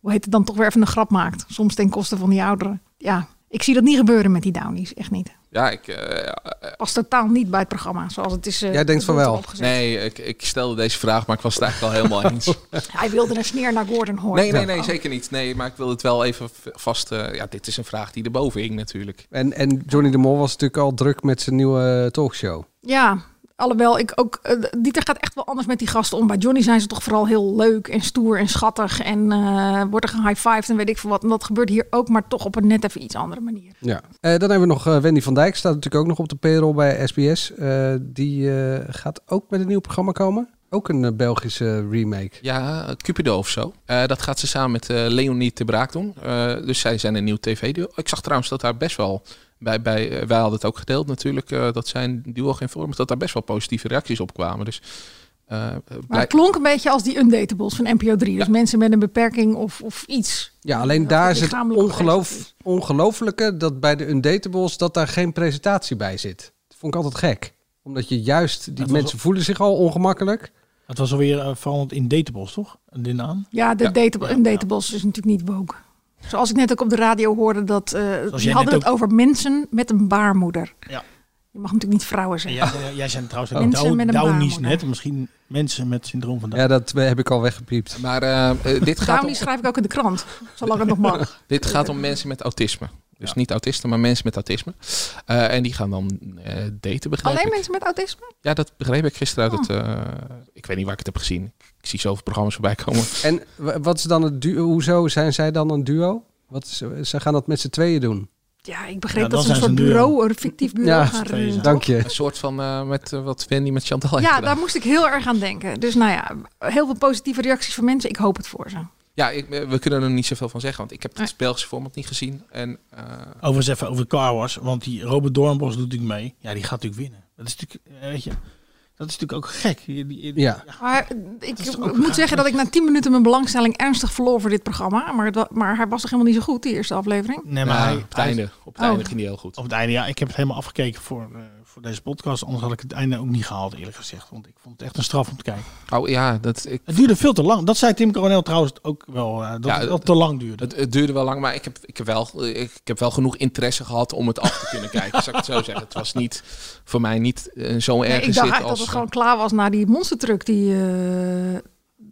Speaker 13: hoe heet het dan toch weer even een grap maakt, soms ten koste van die ouderen. Ja, ik zie dat niet gebeuren met die Downies, echt niet.
Speaker 4: Ja, ik, eh,
Speaker 13: Past totaal niet bij het programma, zoals het is. eh,
Speaker 4: Jij denkt van
Speaker 13: bedoeld
Speaker 4: wel.
Speaker 13: opgezet.
Speaker 4: Nee, ik, ik stelde deze vraag, maar ik was het eigenlijk al helemaal eens.
Speaker 13: Hij wilde een sneer naar Gordon horen.
Speaker 4: Nee, nee, nee,
Speaker 13: Oh.
Speaker 4: zeker niet. Nee, maar ik wil het wel even v- vast. eh, ja, dit is een vraag die erboven hing natuurlijk.
Speaker 7: En, en Johnny de Mol was natuurlijk al druk met zijn nieuwe eh, talkshow.
Speaker 13: Ja, alhoewel ik ook. eh, Dieter gaat echt wel anders met die gasten om. Bij Johnny zijn ze toch vooral heel leuk en stoer en schattig. En eh worden gehighfived en weet ik veel wat. En dat gebeurt hier ook, maar toch op een net even iets andere manier.
Speaker 7: Ja. Eh, dan hebben we nog eh, Wendy van Dijk, staat natuurlijk ook nog op de payroll bij SBS. Eh, die eh, gaat ook met een nieuw programma komen. Ook een eh, Belgische remake.
Speaker 4: Ja, Cupido of zo. Eh, dat gaat ze samen met eh, Leonie te Braak doen. Eh, dus zij zijn een nieuw tv-duo. Ik zag trouwens dat daar best wel. Bij, bij, eh, wij hadden het ook gedeeld natuurlijk. eh, dat zijn duo geen vorm. Dat daar best wel positieve reacties op kwamen. Dus. eh,
Speaker 13: Maar het
Speaker 4: blijk-
Speaker 13: klonk een beetje als die Undateables van NPO 3. Dus mensen met een beperking of, of iets.
Speaker 7: Ja, alleen
Speaker 13: Dat
Speaker 7: daar
Speaker 13: het
Speaker 7: is het
Speaker 13: lichamelijk
Speaker 7: ongeloof, ongelooflijke dat bij de Undateables dat daar geen presentatie bij zit. Dat vond ik altijd gek. Omdat je juist, die
Speaker 12: was-
Speaker 7: mensen voelen zich al ongemakkelijk.
Speaker 12: Het was alweer eh, veranderd in Datables, toch? De naam?
Speaker 13: Ja, de
Speaker 12: Ja.
Speaker 13: data- Undateables is natuurlijk niet woke. Zoals ik net ook op de radio hoorde, dat eh die
Speaker 12: net
Speaker 13: hadden het
Speaker 12: ook-
Speaker 13: over mensen met een baarmoeder.
Speaker 12: Ja.
Speaker 13: Je mag natuurlijk niet vrouwen
Speaker 12: En
Speaker 13: zeggen.
Speaker 12: Jij, jij, jij zei trouwens
Speaker 4: Oh.
Speaker 13: Mensen
Speaker 12: Down-
Speaker 13: met een
Speaker 12: Downies
Speaker 13: baarmoeder.
Speaker 12: net. Misschien mensen met syndroom van Down.
Speaker 7: Ja, dat eh, heb ik al weggepiept.
Speaker 4: Maar eh, eh, dit, gaat om,
Speaker 13: Downy schrijf ik ook in de krant, zolang het nog mag.
Speaker 4: dit gaat om mensen met autisme. Dus niet autisten, maar mensen met autisme. Eh, en die gaan dan eh, daten, begrijp
Speaker 13: Alleen
Speaker 4: ik.
Speaker 13: mensen met autisme?
Speaker 4: Ja, dat begreep ik gisteren
Speaker 13: Oh.
Speaker 4: uit het... eh, ik weet niet waar ik het heb gezien. Ik zie zoveel programma's voorbij komen.
Speaker 7: En w- wat is dan het duo? Hoezo zijn zij dan een duo? Wat is, eh, ze gaan dat met z'n tweeën doen.
Speaker 13: Ja, ik begreep
Speaker 7: Ja, dan
Speaker 13: dat ze een
Speaker 7: zijn ze
Speaker 13: soort
Speaker 7: een duo.
Speaker 13: bureau, een fictief bureau gaan runnen.
Speaker 7: Dank je.
Speaker 4: Een soort van eh, met eh, wat Wendy met Chantal heeft
Speaker 13: Ja,
Speaker 4: gedaan.
Speaker 13: daar moest ik heel erg aan denken. Dus nou ja, heel veel positieve reacties van mensen. Ik hoop het voor ze.
Speaker 4: Ja, ik, eh, we kunnen er niet zoveel van zeggen, want ik heb
Speaker 13: Nee.
Speaker 4: het Belgische format niet gezien. En, eh,
Speaker 12: Overigens even over Car Wars, want die Robert Doornbos doet natuurlijk mee. Ja, die gaat natuurlijk winnen. Dat is natuurlijk, eh, weet je, dat is natuurlijk ook gek. Die- die- die-
Speaker 7: Ja.
Speaker 13: Maar ik
Speaker 12: is ook
Speaker 13: moet
Speaker 12: raar.
Speaker 13: zeggen dat ik na 10 minuten mijn belangstelling ernstig verloor voor dit programma. Maar, het wa- maar hij was toch helemaal niet zo goed, die eerste aflevering?
Speaker 12: Nee, maar
Speaker 4: Ja,
Speaker 12: hij-
Speaker 4: op het
Speaker 12: hij-
Speaker 4: einde. Op het
Speaker 13: Oh.
Speaker 4: einde ging die heel goed.
Speaker 12: Op het einde, ja. Ik heb het helemaal afgekeken voor, eh, voor deze podcast. Anders had ik het einde ook niet gehaald, eerlijk gezegd. Want ik vond het echt een straf om te kijken.
Speaker 4: Oh ja, dat, ik,
Speaker 12: Het duurde veel te lang. Dat zei Tim Coronel trouwens ook wel. eh, dat
Speaker 4: Ja,
Speaker 12: het wel te lang duurde.
Speaker 4: het, het duurde wel lang, maar ik heb, ik, heb wel, ik heb wel genoeg interesse gehad om het af te kunnen kijken. Zou ik het zo zeggen. Het was niet voor mij niet eh, zo
Speaker 13: Nee,
Speaker 4: erg zit
Speaker 13: ik dacht eigenlijk
Speaker 4: als...
Speaker 13: dat het gewoon klaar was na die monstertruck die... eh,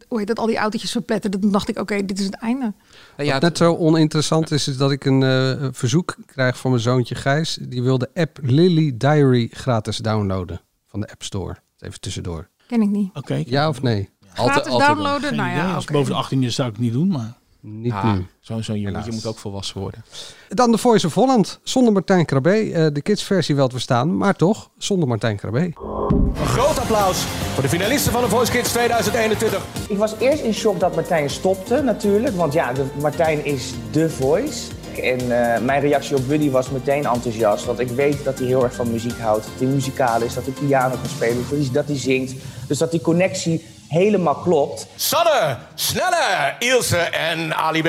Speaker 13: hoe heet dat, al die autootjes verpletterde. Toen dacht ik, oké, dit is het einde.
Speaker 4: Nou ja,
Speaker 7: Wat net zo oninteressant is, is dat ik een eh, verzoek krijg van mijn zoontje Gijs. Die wil de app Lily Diary gratis downloaden van de App Store. Even tussendoor.
Speaker 13: Ken ik niet.
Speaker 12: Oké.
Speaker 7: Ja of nee?
Speaker 13: Gratis downloaden,
Speaker 12: Geen
Speaker 13: nou
Speaker 12: idee.
Speaker 13: ja,
Speaker 12: Als
Speaker 13: oké.
Speaker 12: boven de 18 is, zou ik het niet doen. Maar
Speaker 7: Niet
Speaker 4: Ah,
Speaker 7: nu.
Speaker 4: Zo'n zo'n jongen,
Speaker 7: Helaas.
Speaker 4: je moet ook volwassen worden.
Speaker 7: Dan de Voice of Holland zonder Martijn Krabbe. Eh, de kidsversie wel te verstaan, maar toch zonder Martijn Krabbe.
Speaker 10: Een groot applaus voor de finalisten van de Voice Kids 2021.
Speaker 15: Ik was eerst in shock dat Martijn stopte natuurlijk, want ja, de- Martijn is de voice. En eh, mijn reactie op Buddy was meteen enthousiast, want ik weet dat hij heel erg van muziek houdt. Dat hij muzikaal is, dat hij piano kan spelen, dat hij, dat hij zingt. Dus dat die connectie helemaal klopt.
Speaker 10: Sanne, Snelle, Ilse en Ali B.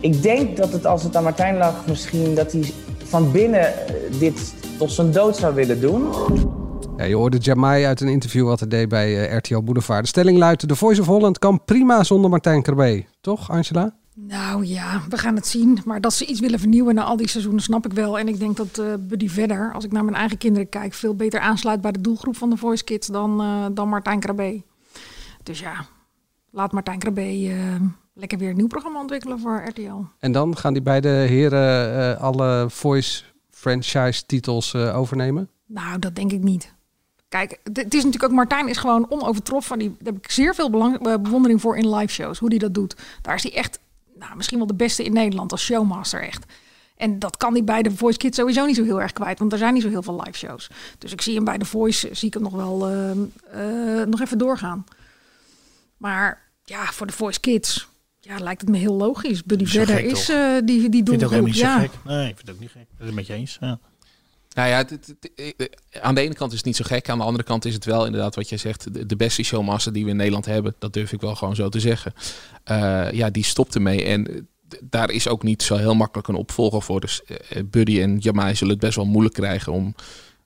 Speaker 15: Ik denk dat het als het aan Martijn lag, misschien dat hij van binnen eh, dit tot zijn dood zou willen doen.
Speaker 7: Ja, je hoorde Jamai uit een interview wat hij deed bij eh, RTL Boulevard. De stelling luidde, de Voice of Holland kan prima zonder Martijn Krabbe. Toch, Angela?
Speaker 13: Nou ja, we gaan het zien. Maar dat ze iets willen vernieuwen na al die seizoenen, snap ik wel. En ik denk dat eh Buddy verder, als ik naar mijn eigen kinderen kijk, veel beter aansluit bij de doelgroep van de Voice Kids dan, eh, dan Martijn Krabbe. Dus ja, laat Martijn Krabbe eh, lekker weer een nieuw programma ontwikkelen voor RTL.
Speaker 7: En dan gaan die beide heren eh, alle Voice franchise titels eh, overnemen?
Speaker 13: Nou, dat denk ik niet. Kijk, d- het is natuurlijk ook Martijn is gewoon onovertroffen. Van die, daar heb ik zeer veel belang, eh, bewondering voor in live shows. Hoe die dat doet. Daar is hij echt, nou, misschien wel de beste in Nederland als showmaster echt. En dat kan hij bij de Voice Kids sowieso niet zo heel erg kwijt, want er zijn niet zo heel veel live shows. Dus ik zie hem bij de Voice, eh, zie ik hem nog wel ehm, eh, nog even doorgaan. Maar ja, voor de Voice Kids, ja, lijkt het me heel logisch. Buddy
Speaker 12: Niet zo
Speaker 13: Vedder
Speaker 12: gek,
Speaker 13: is
Speaker 12: toch?
Speaker 13: eh, die, die
Speaker 12: ik vind het ook
Speaker 13: doelgroep.
Speaker 12: helemaal niet zo
Speaker 13: Ja.
Speaker 12: gek. Nee, ik vind het ook niet gek. Dat is het met je eens. Ja.
Speaker 4: Nou ja, dit- dit- eh, aan de ene kant is het niet zo gek. Aan de andere kant is het wel inderdaad wat jij zegt. De, de beste showmaster die we in Nederland hebben. Dat durf ik wel gewoon zo te zeggen. Eh, ja, die stopt ermee. En eh, d- daar is ook niet zo heel makkelijk een opvolger voor. Dus eh, Buddy en Jamai zullen het best wel moeilijk krijgen om,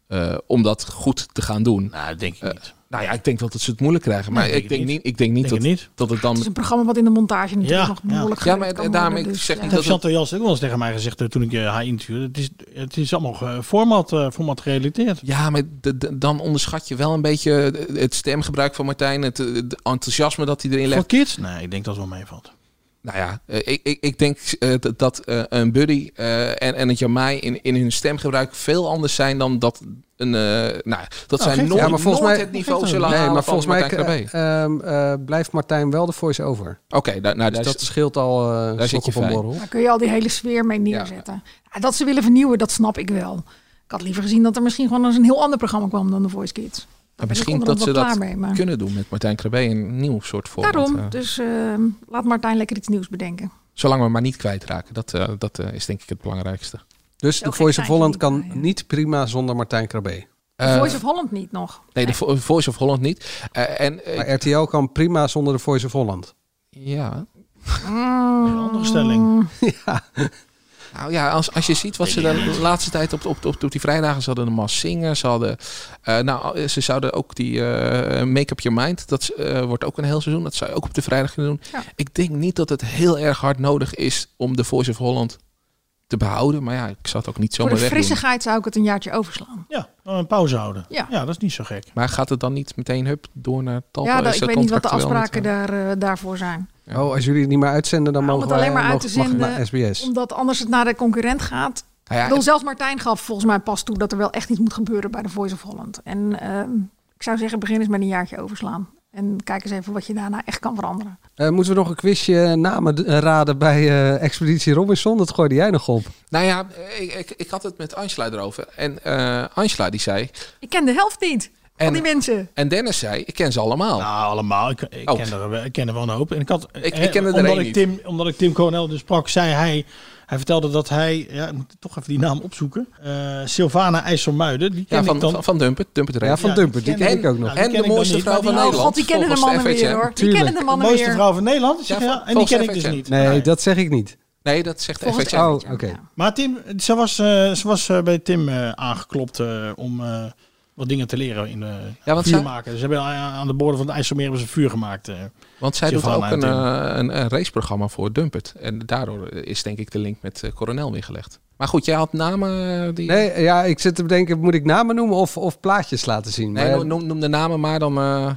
Speaker 4: eh, om dat goed te gaan doen.
Speaker 12: Nou, dat denk ik niet.
Speaker 4: nou ja, ik denk wel dat ze het moeilijk krijgen. Maar
Speaker 12: Nee,
Speaker 4: ik, denk niet. ik denk niet,
Speaker 12: Denk
Speaker 4: dat,
Speaker 12: ik niet.
Speaker 4: dat het dan...
Speaker 13: Het is een programma wat in de montage natuurlijk nog
Speaker 4: Ja,
Speaker 13: behoorlijk
Speaker 4: maar
Speaker 13: gewerkt kan
Speaker 4: daarom,
Speaker 13: worden,
Speaker 4: ik
Speaker 13: dus,
Speaker 4: zeg
Speaker 13: ja.
Speaker 4: niet
Speaker 12: Dat
Speaker 4: dat
Speaker 12: heeft Chantal
Speaker 4: het-
Speaker 12: Jans ook wel eens tegen mij gezegd eh, toen ik eh, haar interviewde. Het is, het is allemaal eh, format, eh, format gerelateerd.
Speaker 4: Ja, maar d- d- dan onderschat je wel een beetje het stemgebruik van Martijn. Het, eh, het enthousiasme dat hij erin legt.
Speaker 12: Voor kids? Nee, ik denk dat het wel meevalt.
Speaker 4: Nou ja, eh, ik, ik, ik denk eh, dat, dat eh, een Buddy eh, en, en het Jamai in, in hun stemgebruik veel anders zijn dan dat een. eh, nou, dat zij nooit, nooit het niveau zullen
Speaker 7: nee,
Speaker 4: halen.
Speaker 7: maar
Speaker 4: van
Speaker 7: volgens mij
Speaker 4: Martijn
Speaker 7: eh,
Speaker 4: Krabbe.
Speaker 7: ehm, eh, blijft Martijn wel de voice over.
Speaker 4: Oké, nou, nou,
Speaker 7: Dus
Speaker 4: daar
Speaker 7: dat
Speaker 4: zit-
Speaker 7: scheelt al eh
Speaker 4: daar zit je
Speaker 7: sokken van
Speaker 4: fijn.
Speaker 7: borrel.
Speaker 13: Daar kun je al die hele sfeer mee neerzetten. Ja, dat ze willen vernieuwen, dat snap ik wel. Ik had liever gezien dat er misschien gewoon eens een heel ander programma kwam dan de Voice Kids.
Speaker 4: Maar
Speaker 13: ben ik
Speaker 4: misschien dat
Speaker 13: onderhand
Speaker 4: ze
Speaker 13: wel
Speaker 4: dat
Speaker 13: klaar mee, maar-
Speaker 4: kunnen doen met Martijn Krabbe een nieuw soort format.
Speaker 13: Daarom,
Speaker 4: eh.
Speaker 13: dus ehm, laat Martijn lekker iets nieuws bedenken.
Speaker 4: Zolang we maar niet kwijtraken, dat, eh, dat eh, is denk ik het belangrijkste.
Speaker 7: Dus de
Speaker 13: gek
Speaker 7: Voice
Speaker 13: zijn
Speaker 7: of
Speaker 13: ze
Speaker 7: Holland
Speaker 13: niet,
Speaker 7: kan niet prima zonder Martijn Krabbe.
Speaker 13: De
Speaker 4: Eh,
Speaker 13: Voice of Holland niet nog.
Speaker 4: Nee, de Vo- Voice of Holland niet. Eh, en, eh,
Speaker 7: Maar RTL kan prima zonder de Voice of Holland.
Speaker 13: Mm,
Speaker 4: ja.
Speaker 13: Een
Speaker 12: andere stelling.
Speaker 4: Nou ja, als, als je ziet wat ze de laatste tijd op, op, op, op die vrijdagen... Ze hadden een mas zingen, ze hadden... eh, nou, ze zouden ook die eh, Make Up Your Mind... Dat eh, wordt ook een heel seizoen. Dat zou je ook op de vrijdag kunnen doen. Ik denk niet dat het heel erg hard nodig is... om de Voice of Holland te behouden. Maar ja, ik zou het ook niet
Speaker 13: Voor de
Speaker 4: zomaar wegdoen.
Speaker 13: frissigheid zou ik het een jaartje overslaan.
Speaker 12: Ja, dan een pauze houden.
Speaker 13: Ja.
Speaker 12: dat is niet zo gek.
Speaker 4: Maar gaat het dan niet meteen hup, door naar Talpa?
Speaker 13: ja, dat,
Speaker 4: Is
Speaker 13: ik
Speaker 4: dat
Speaker 13: weet niet wat de
Speaker 4: contractueel
Speaker 13: afspraken daar, eh, daarvoor zijn.
Speaker 7: Oh, als jullie het niet meer uitzenden, dan
Speaker 13: Nou, Om
Speaker 7: mogen
Speaker 13: het
Speaker 7: we
Speaker 13: alleen maar uit
Speaker 7: mogen,
Speaker 13: te
Speaker 7: mag het
Speaker 13: zenden.
Speaker 7: naar SBS.
Speaker 13: Omdat anders het naar de concurrent gaat.
Speaker 7: Nou ja,
Speaker 13: ik bedoel,
Speaker 7: en-
Speaker 13: zelfs Martijn gaf volgens mij pas toe dat er wel echt iets moet gebeuren bij de Voice of Holland. En ehm, ik zou zeggen, begin eens met een jaartje overslaan. En kijk eens even wat je daarna echt kan veranderen.
Speaker 7: Eh, moeten we nog een quizje namen d- raden bij eh, Expeditie Robinson? Dat gooide jij nog op.
Speaker 4: Nou ja, ik, ik, ik had het met Angela erover. En eh, Angela die zei...
Speaker 13: Ik ken de helft niet van
Speaker 4: En-
Speaker 13: die mensen.
Speaker 4: En Dennis zei, ik ken ze allemaal.
Speaker 12: Nou, allemaal. Ik, ik, ken, er, wel- ik ken er wel een hoop. En ik, had,
Speaker 4: Ik-
Speaker 12: eh,
Speaker 4: ik ken er
Speaker 12: omdat
Speaker 4: één
Speaker 12: ik
Speaker 4: niet.
Speaker 12: Tim, Omdat ik Tim Coronel dus sprak, zei hij... Hij vertelde dat hij... Ja, ik moet toch even die naam opzoeken. eh, Sylvana IJsselmuiden. Die ken
Speaker 4: Ja, van,
Speaker 12: ik dan.
Speaker 4: van, van Dumpert. Dumpert
Speaker 12: Ja, van Dumpert, die ken ik ook nog.
Speaker 4: En,
Speaker 12: Ja, die ken
Speaker 4: de
Speaker 12: ik dan
Speaker 4: mooiste
Speaker 12: niet,
Speaker 4: vrouw
Speaker 12: maar
Speaker 13: Oh,
Speaker 4: van
Speaker 12: die-
Speaker 4: Nederland.
Speaker 12: God, die kennen de
Speaker 4: volgens
Speaker 12: mannen
Speaker 4: FHM.
Speaker 12: weer, hoor. Die Tuurlijk. kennen de mannen De mooiste weer. vrouw van Nederland, zeg je? Ja, en die
Speaker 4: volgens
Speaker 12: ken ik dus
Speaker 4: FHM.
Speaker 12: niet.
Speaker 7: Nee, dat zeg ik niet.
Speaker 4: Nee, dat zegt
Speaker 12: Volgens-
Speaker 4: FHM.
Speaker 7: Oh, oké.
Speaker 12: Maar Tim, ze was, eh, ze was eh, bij Tim eh, aangeklopt eh, om eh, wat dingen te leren in eh
Speaker 4: Ja, want
Speaker 12: vuur
Speaker 4: zij-
Speaker 12: maken. Ze hebben aan- aan de boorden van het IJsselmeer hebben ze vuur gemaakt. eh.
Speaker 4: Want zij doet ook
Speaker 12: Sylvana
Speaker 4: een,
Speaker 12: en Tim.
Speaker 4: eh, een, een raceprogramma voor Dumpert. En daardoor is denk ik de link met eh, Coronel weer gelegd. Maar goed, jij had namen eh, die...
Speaker 7: Nee, ja, ik zit te bedenken, moet ik namen noemen of, of plaatjes laten zien?
Speaker 4: Nee,
Speaker 7: Maar,
Speaker 4: noem- noem, noem de namen maar dan... eh,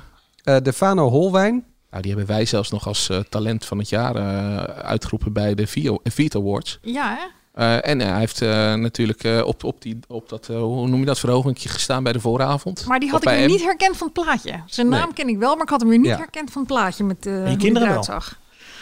Speaker 7: eh, Defano Holwijn.
Speaker 4: nou, die hebben wij zelfs nog als eh, talent van het jaar eh, uitgeroepen bij de Vio- eh, Vito Awards.
Speaker 13: Ja, hè?
Speaker 4: Eh, en eh, hij heeft eh, natuurlijk eh, op, op, die, op dat, eh, hoe noem je dat, verhogingje gestaan bij de vooravond.
Speaker 13: Maar die had
Speaker 4: Of
Speaker 13: ik
Speaker 4: bij
Speaker 13: weer
Speaker 4: hem.
Speaker 13: niet herkend van het plaatje. Zijn
Speaker 4: Nee.
Speaker 13: naam ken ik wel, maar ik had hem weer niet
Speaker 4: Ja.
Speaker 13: herkend van het plaatje met eh hoe die
Speaker 4: kinderen
Speaker 13: eruit
Speaker 4: wel.
Speaker 13: zag.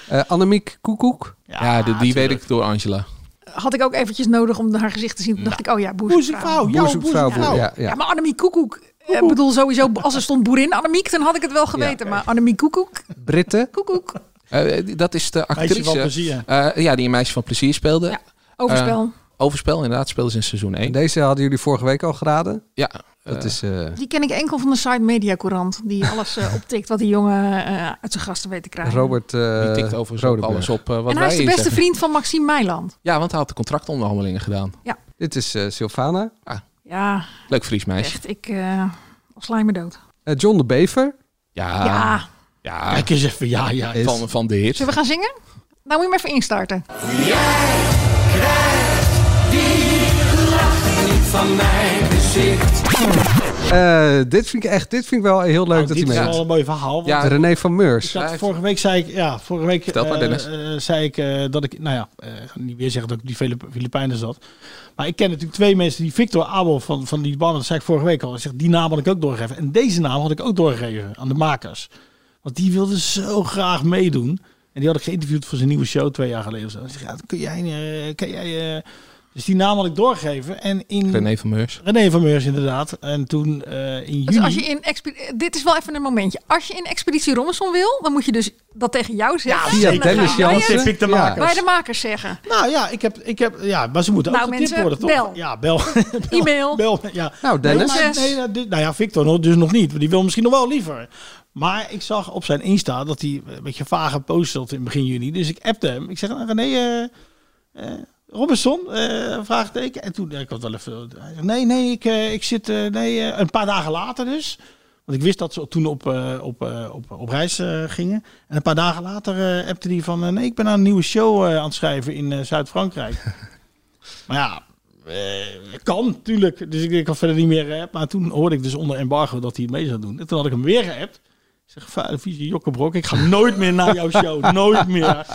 Speaker 7: Eh, Annemiek Koekoek.
Speaker 4: Ja, die, die weet ik door Angela.
Speaker 13: Had ik ook eventjes nodig om haar gezicht te zien. Toen dacht ik, oh ja, boezemvrouw.
Speaker 7: Boezemvrouw, boezemvrouw, boezemvrouw, ja, ja.
Speaker 13: Ja, maar Annemiek Koekoek. eh, bedoel, sowieso, als er stond boerin Annemiek, dan had ik het wel geweten. Maar Annemiek Koekoek,
Speaker 7: Britten.
Speaker 13: Koekoek.
Speaker 4: Eh, die- dat is de
Speaker 12: van
Speaker 4: actrice.
Speaker 12: Plezier.
Speaker 4: Eh, ja, die een meisje van plezier speelde.
Speaker 13: Overspel.
Speaker 4: Eh, overspel, inderdaad, speelde ze in seizoen 1.
Speaker 7: Deze hadden jullie vorige week al geraden.
Speaker 4: Ja.
Speaker 7: Dat is... eh,
Speaker 13: Die ken ik enkel van de site Media Courant. Die alles eh, optikt wat die jongen eh, uit zijn gasten weet te krijgen.
Speaker 7: Robert eh
Speaker 4: Die tikt overigens ook
Speaker 7: Rodenburg.
Speaker 4: alles op eh, wat
Speaker 13: en hij
Speaker 4: wij
Speaker 13: is de
Speaker 4: hier
Speaker 13: beste
Speaker 4: zeggen.
Speaker 13: vriend van Maxime Meiland.
Speaker 4: Ja, want hij had de contractonderhandelingen gedaan.
Speaker 13: Ja.
Speaker 7: Dit is eh Sylvana.
Speaker 13: Ja,
Speaker 4: Leuk Fries meisje.
Speaker 13: echt, ik eh al sla je me dood.
Speaker 7: Eh, John de Bever.
Speaker 4: Ja.
Speaker 13: Ja.
Speaker 4: Ja.
Speaker 12: Kijk eens even, ja, ja.
Speaker 4: Van, van de hit.
Speaker 13: Zullen we gaan zingen? Nou moet je hem even instarten.
Speaker 14: Van mijn gezicht.
Speaker 7: Eh, dit vind ik echt, dit vind ik wel heel leuk dat
Speaker 12: Oh, Dit
Speaker 7: hij
Speaker 12: is
Speaker 7: mee
Speaker 12: wel een mooi verhaal. want
Speaker 7: Ja. René van Meurs.
Speaker 12: Ik had- vorige week zei ik, ja, vorige week
Speaker 7: Vertel maar,
Speaker 12: eh,
Speaker 7: Dennis.
Speaker 12: eh, zei ik eh, dat ik, nou ja, eh, ik ga niet weer zeggen dat ik die Filip- Filipijnen zat. Maar ik ken natuurlijk twee mensen, die Victor Abel van, van die band, dat zei ik vorige week al. Ik zeg, die naam had ik ook doorgegeven. En deze naam had ik ook doorgegeven aan de makers. Want die wilde zo graag meedoen. En die had ik geïnterviewd voor zijn nieuwe show twee jaar geleden. Of zo. Ik zeg, ja, dat kun jij, eh, kan jij... eh, dus die naam had ik doorgegeven. En in
Speaker 4: René van Meurs.
Speaker 12: René van Meurs, inderdaad. En toen eh, in juli...
Speaker 13: Dus als je in expe- eh, dit is wel even een momentje. Als je in Expeditie Robinson wil, dan moet je dus dat tegen jou zeggen.
Speaker 12: via
Speaker 13: En dan
Speaker 12: Dennis
Speaker 13: ga jij
Speaker 12: Jansen.
Speaker 13: het
Speaker 12: Tip ik de makers.
Speaker 13: Bij de makers zeggen.
Speaker 12: Nou ja, ik heb, ik heb, ja maar ze moeten
Speaker 13: Nou,
Speaker 12: ook getipt
Speaker 13: mensen,
Speaker 12: worden, toch?
Speaker 13: bel.
Speaker 12: Ja, bel.
Speaker 13: E-mail.
Speaker 12: bel ja.
Speaker 7: Nou, Dennis.
Speaker 12: Nee, maar- nee, nou, dit- nou ja, Victor nog- dus nog niet. want Die wil misschien nog wel liever. Maar ik zag op zijn Insta dat hij een beetje vage post had in begin juni. Dus ik appte hem. Ik zeg, nou, René, eh, eh, Robinson, eh, vraagteken. En toen, eh, ik had wel even... hij zegt, nee, nee, ik, eh, ik zit... eh, nee, eh, een paar dagen later dus. Want ik wist dat ze toen op, eh, op, eh, op, op reis eh, gingen. En een paar dagen later eh, appte hij van... eh, nee, ik ben aan een nieuwe show eh, aan het schrijven in eh, Zuid-Frankrijk. maar ja, eh, kan, tuurlijk. Dus ik, ik had verder niet meer geappt. Maar toen hoorde ik dus onder embargo dat hij het mee zou doen. En toen had ik hem weer geappt. Ik zeg, vuile vieze jokkenbrok, ik ga nooit meer naar jouw show. Nooit meer.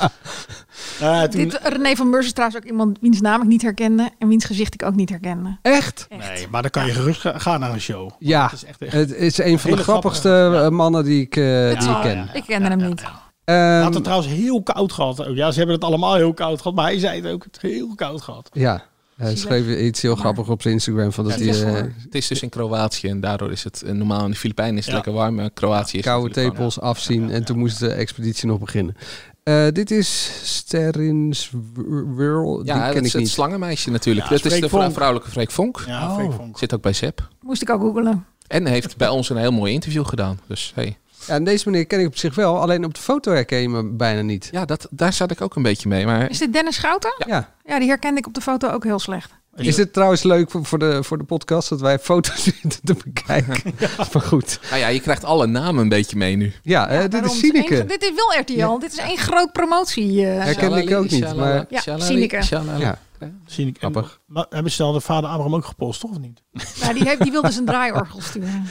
Speaker 12: Eh, toen-
Speaker 13: Dit, René van Meurs is trouwens ook iemand wiens naam ik niet herkende. En wiens gezicht ik ook niet herkende.
Speaker 7: Echt?
Speaker 12: Nee, maar dan kan je gerust ga- gaan naar een show.
Speaker 7: Ja,
Speaker 12: is echt-
Speaker 7: het is een van de
Speaker 12: Hele
Speaker 7: grappigste eh, mannen die ik, eh, die ik ken. Ehm,
Speaker 13: Ik kende hem niet.
Speaker 12: Hij had het trouwens heel koud gehad. ook. Ja, ze hebben het allemaal heel koud gehad. Maar hij zei het ook, het heel koud gehad.
Speaker 7: Ja, hij schreef iets heel grappigs op zijn Instagram. Van dat
Speaker 4: het, is,
Speaker 7: hij, eh,
Speaker 4: het is dus in Kroatië en daardoor is het eh, normaal in de Filipijnen is het
Speaker 7: Ja.
Speaker 4: lekker warm. eh, Kroatië is
Speaker 7: koude
Speaker 4: natuurlijk
Speaker 7: tepels afzien. En toen moest de expeditie nog beginnen. Eh, dit is Sterins World.
Speaker 4: warm. eh, Ja,
Speaker 7: die ken
Speaker 4: dat is
Speaker 7: ik
Speaker 4: het
Speaker 7: niet.
Speaker 4: slangenmeisje natuurlijk.
Speaker 7: Ja,
Speaker 4: dat is
Speaker 7: Freek
Speaker 4: de vrou-
Speaker 7: Vonk.
Speaker 4: vrouwelijke Freek Vonk.
Speaker 12: Ja,
Speaker 13: Oh.
Speaker 12: Freek Vonk.
Speaker 4: Zit ook bij Sepp.
Speaker 13: Moest ik ook googelen.
Speaker 4: En heeft bij ons een heel mooi interview gedaan. Dus hey.
Speaker 7: Ja, en deze meneer ken ik op zich wel, alleen op de foto herken je me bijna niet.
Speaker 4: Ja, dat, daar zat ik ook een beetje mee. Maar...
Speaker 13: Is dit Dennis Schouten?
Speaker 7: Ja.
Speaker 13: Ja, die herkende ik op de foto ook heel slecht.
Speaker 7: Is dit trouwens leuk voor, voor de, voor de podcast dat wij foto's zitten te bekijken? Maar goed.
Speaker 4: Nou ja, je krijgt alle namen een beetje mee nu.
Speaker 7: Ja, hè, dit
Speaker 13: Daarom,
Speaker 7: is
Speaker 13: het is
Speaker 7: Sineke.
Speaker 13: één- dit is wel RTL. Dit is één groot promotie. eh,
Speaker 7: Herken ik ook niet, maar...
Speaker 13: Ja, Sineke.
Speaker 7: Ja.
Speaker 12: Dus Zie ik.
Speaker 7: Grappig.
Speaker 12: Maar hebben ze dan de vader Abraham ook gepost, toch of niet?
Speaker 13: Ja, die, heeft, die wilde zijn draaiorgel sturen.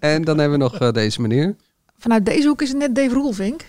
Speaker 7: En dan hebben we nog eh, deze meneer.
Speaker 13: Vanuit deze hoek is het net Dave Roelvink.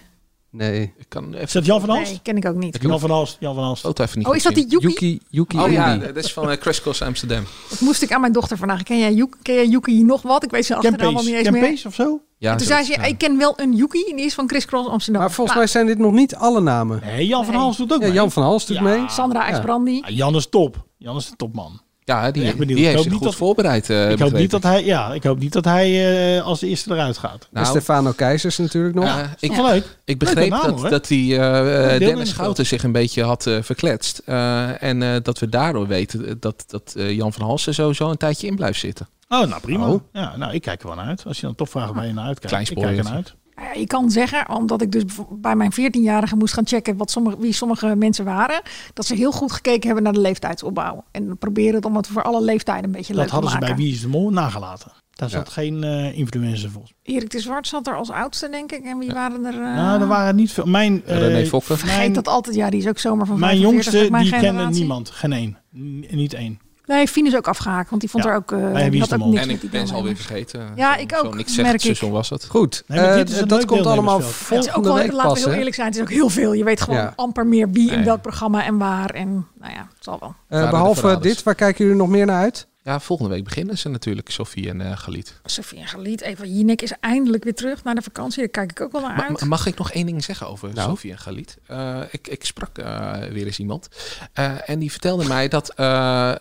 Speaker 7: Nee.
Speaker 4: Ik kan
Speaker 12: Is dat Jan van Hals?
Speaker 13: Nee, ken ik ook niet.
Speaker 12: Jan van Hals. Jan van Hals.
Speaker 4: Foto even niet
Speaker 13: Oh, is
Speaker 4: goed
Speaker 13: dat
Speaker 4: zien.
Speaker 13: die Yuki?
Speaker 7: Yuki
Speaker 4: Oh ja,
Speaker 7: Yuki.
Speaker 4: dat is van eh, Crash Course Amsterdam.
Speaker 13: Dat moest ik aan mijn dochter vandaag. Ken jij Yuki, ken jij Yuki nog wat? Ik weet zijn achternaam al niet eens meer.
Speaker 12: Campees of zo?
Speaker 4: Ja,
Speaker 13: En toen zei ze, ik ken wel een Yuki. En die is van Chris Cross Amsterdam. Nou,
Speaker 7: Maar volgens mij zijn dit nog niet alle namen.
Speaker 12: Nee, Jan van Hals doet ook
Speaker 7: Ja,
Speaker 12: mee.
Speaker 7: Jan van Hals doet mee.
Speaker 13: Sandra IJsbrandi.
Speaker 12: Ah, Jan is top. Jan is de topman.
Speaker 4: Ja,
Speaker 12: Ik ben
Speaker 4: die,
Speaker 12: benieuwd.
Speaker 4: die
Speaker 12: Ik
Speaker 4: heeft
Speaker 12: hoop
Speaker 4: zich
Speaker 12: niet
Speaker 4: goed
Speaker 12: dat-
Speaker 4: voorbereid. eh,
Speaker 12: ik, hoop
Speaker 4: begreep
Speaker 12: niet dat hij, ja, ik hoop niet dat hij eh, als de eerste eruit gaat.
Speaker 7: En Stefano Keizers natuurlijk nog.
Speaker 4: Ja, Nou, eh, ik,
Speaker 12: wel leuk.
Speaker 4: ik begreep
Speaker 12: Leuke naam,
Speaker 4: dat,
Speaker 12: hoor.
Speaker 4: dat die eh,
Speaker 12: deelnemers
Speaker 4: Dennis
Speaker 12: wel.
Speaker 4: Schouten zich een beetje had eh, verkletst. Eh, en eh, dat we daardoor weten dat, dat eh, Jan van Halsen sowieso een tijdje in blijft zitten.
Speaker 12: Oh, nou prima.
Speaker 4: Oh.
Speaker 12: Ja, nou, ik kijk er wel naar uit. Als je dan toch vraagt waar je naar uitkijkt.
Speaker 4: Klein
Speaker 12: ik kijk er
Speaker 4: spoortje.
Speaker 12: naar uit.
Speaker 13: Nou Ja, Ik kan zeggen, omdat ik dus bijvo- bij mijn 14-jarige moest gaan checken wat sommige, wie sommige mensen waren, dat ze heel goed gekeken hebben naar de leeftijdsopbouw. En proberen het om het voor alle leeftijden een beetje
Speaker 12: Dat
Speaker 13: leuk te
Speaker 12: hadden ze
Speaker 13: maken.
Speaker 12: bij Wie is de Mol nagelaten. Daar
Speaker 7: Ja.
Speaker 12: zat geen eh influencer volgens
Speaker 13: Erik de Zwart zat er als oudste, denk ik. En wie waren er? eh,
Speaker 12: mij. Nou, er waren niet veel. Mijn, eh,
Speaker 4: Ah. René Fokker.
Speaker 13: Vergeet
Speaker 12: mijn-
Speaker 13: dat altijd. Ja, die is ook zomaar van
Speaker 12: Mijn
Speaker 13: 45,
Speaker 12: jongste,
Speaker 13: mijn
Speaker 12: die kende
Speaker 13: generatie.
Speaker 12: niemand. Geen één. N- niet één.
Speaker 13: Nee, Fien is ook afgehaakt, want die vond
Speaker 12: Ja,
Speaker 13: er ook, eh,
Speaker 12: bij Wie
Speaker 13: die
Speaker 12: is de
Speaker 13: had ook
Speaker 12: Mol.
Speaker 13: niks
Speaker 4: en
Speaker 13: met
Speaker 4: ik
Speaker 13: die
Speaker 4: ben ze
Speaker 13: deelnemer.
Speaker 4: alweer vergeten.
Speaker 13: Ja,
Speaker 4: Zo-
Speaker 13: ik ook,
Speaker 4: Zo niks
Speaker 13: merk
Speaker 4: zeggen
Speaker 13: ik.
Speaker 4: seizoen was dat.
Speaker 7: Goed,
Speaker 12: Nee, maar dit
Speaker 7: eh,
Speaker 12: is een
Speaker 7: dat
Speaker 12: leuk
Speaker 7: komt allemaal
Speaker 12: deelnemersveld.
Speaker 13: Het is ook
Speaker 7: volgende
Speaker 13: wel,
Speaker 7: week
Speaker 13: laten we
Speaker 7: pas.
Speaker 13: heel
Speaker 7: hè?
Speaker 13: eerlijk zijn, het is ook heel veel. Je weet gewoon
Speaker 7: Ja.
Speaker 13: amper meer wie in
Speaker 4: Nee.
Speaker 13: welk programma en waar. En nou ja, het zal wel.
Speaker 7: Eh,
Speaker 4: Vader de
Speaker 7: behalve
Speaker 4: Verraders.
Speaker 7: dit, waar kijken jullie nog meer naar uit?
Speaker 4: Ja, volgende week beginnen ze natuurlijk, Sofie en eh Galit.
Speaker 13: Sofie en Galiet, Eva Jinek is eindelijk weer terug naar de vakantie. Daar kijk ik ook wel naar
Speaker 4: Ma-
Speaker 13: uit.
Speaker 4: ma- mag ik nog één ding zeggen over
Speaker 7: Nou.
Speaker 4: Sofie en Galit? Eh, ik, ik sprak eh, weer eens iemand. Eh, en die vertelde mij dat eh,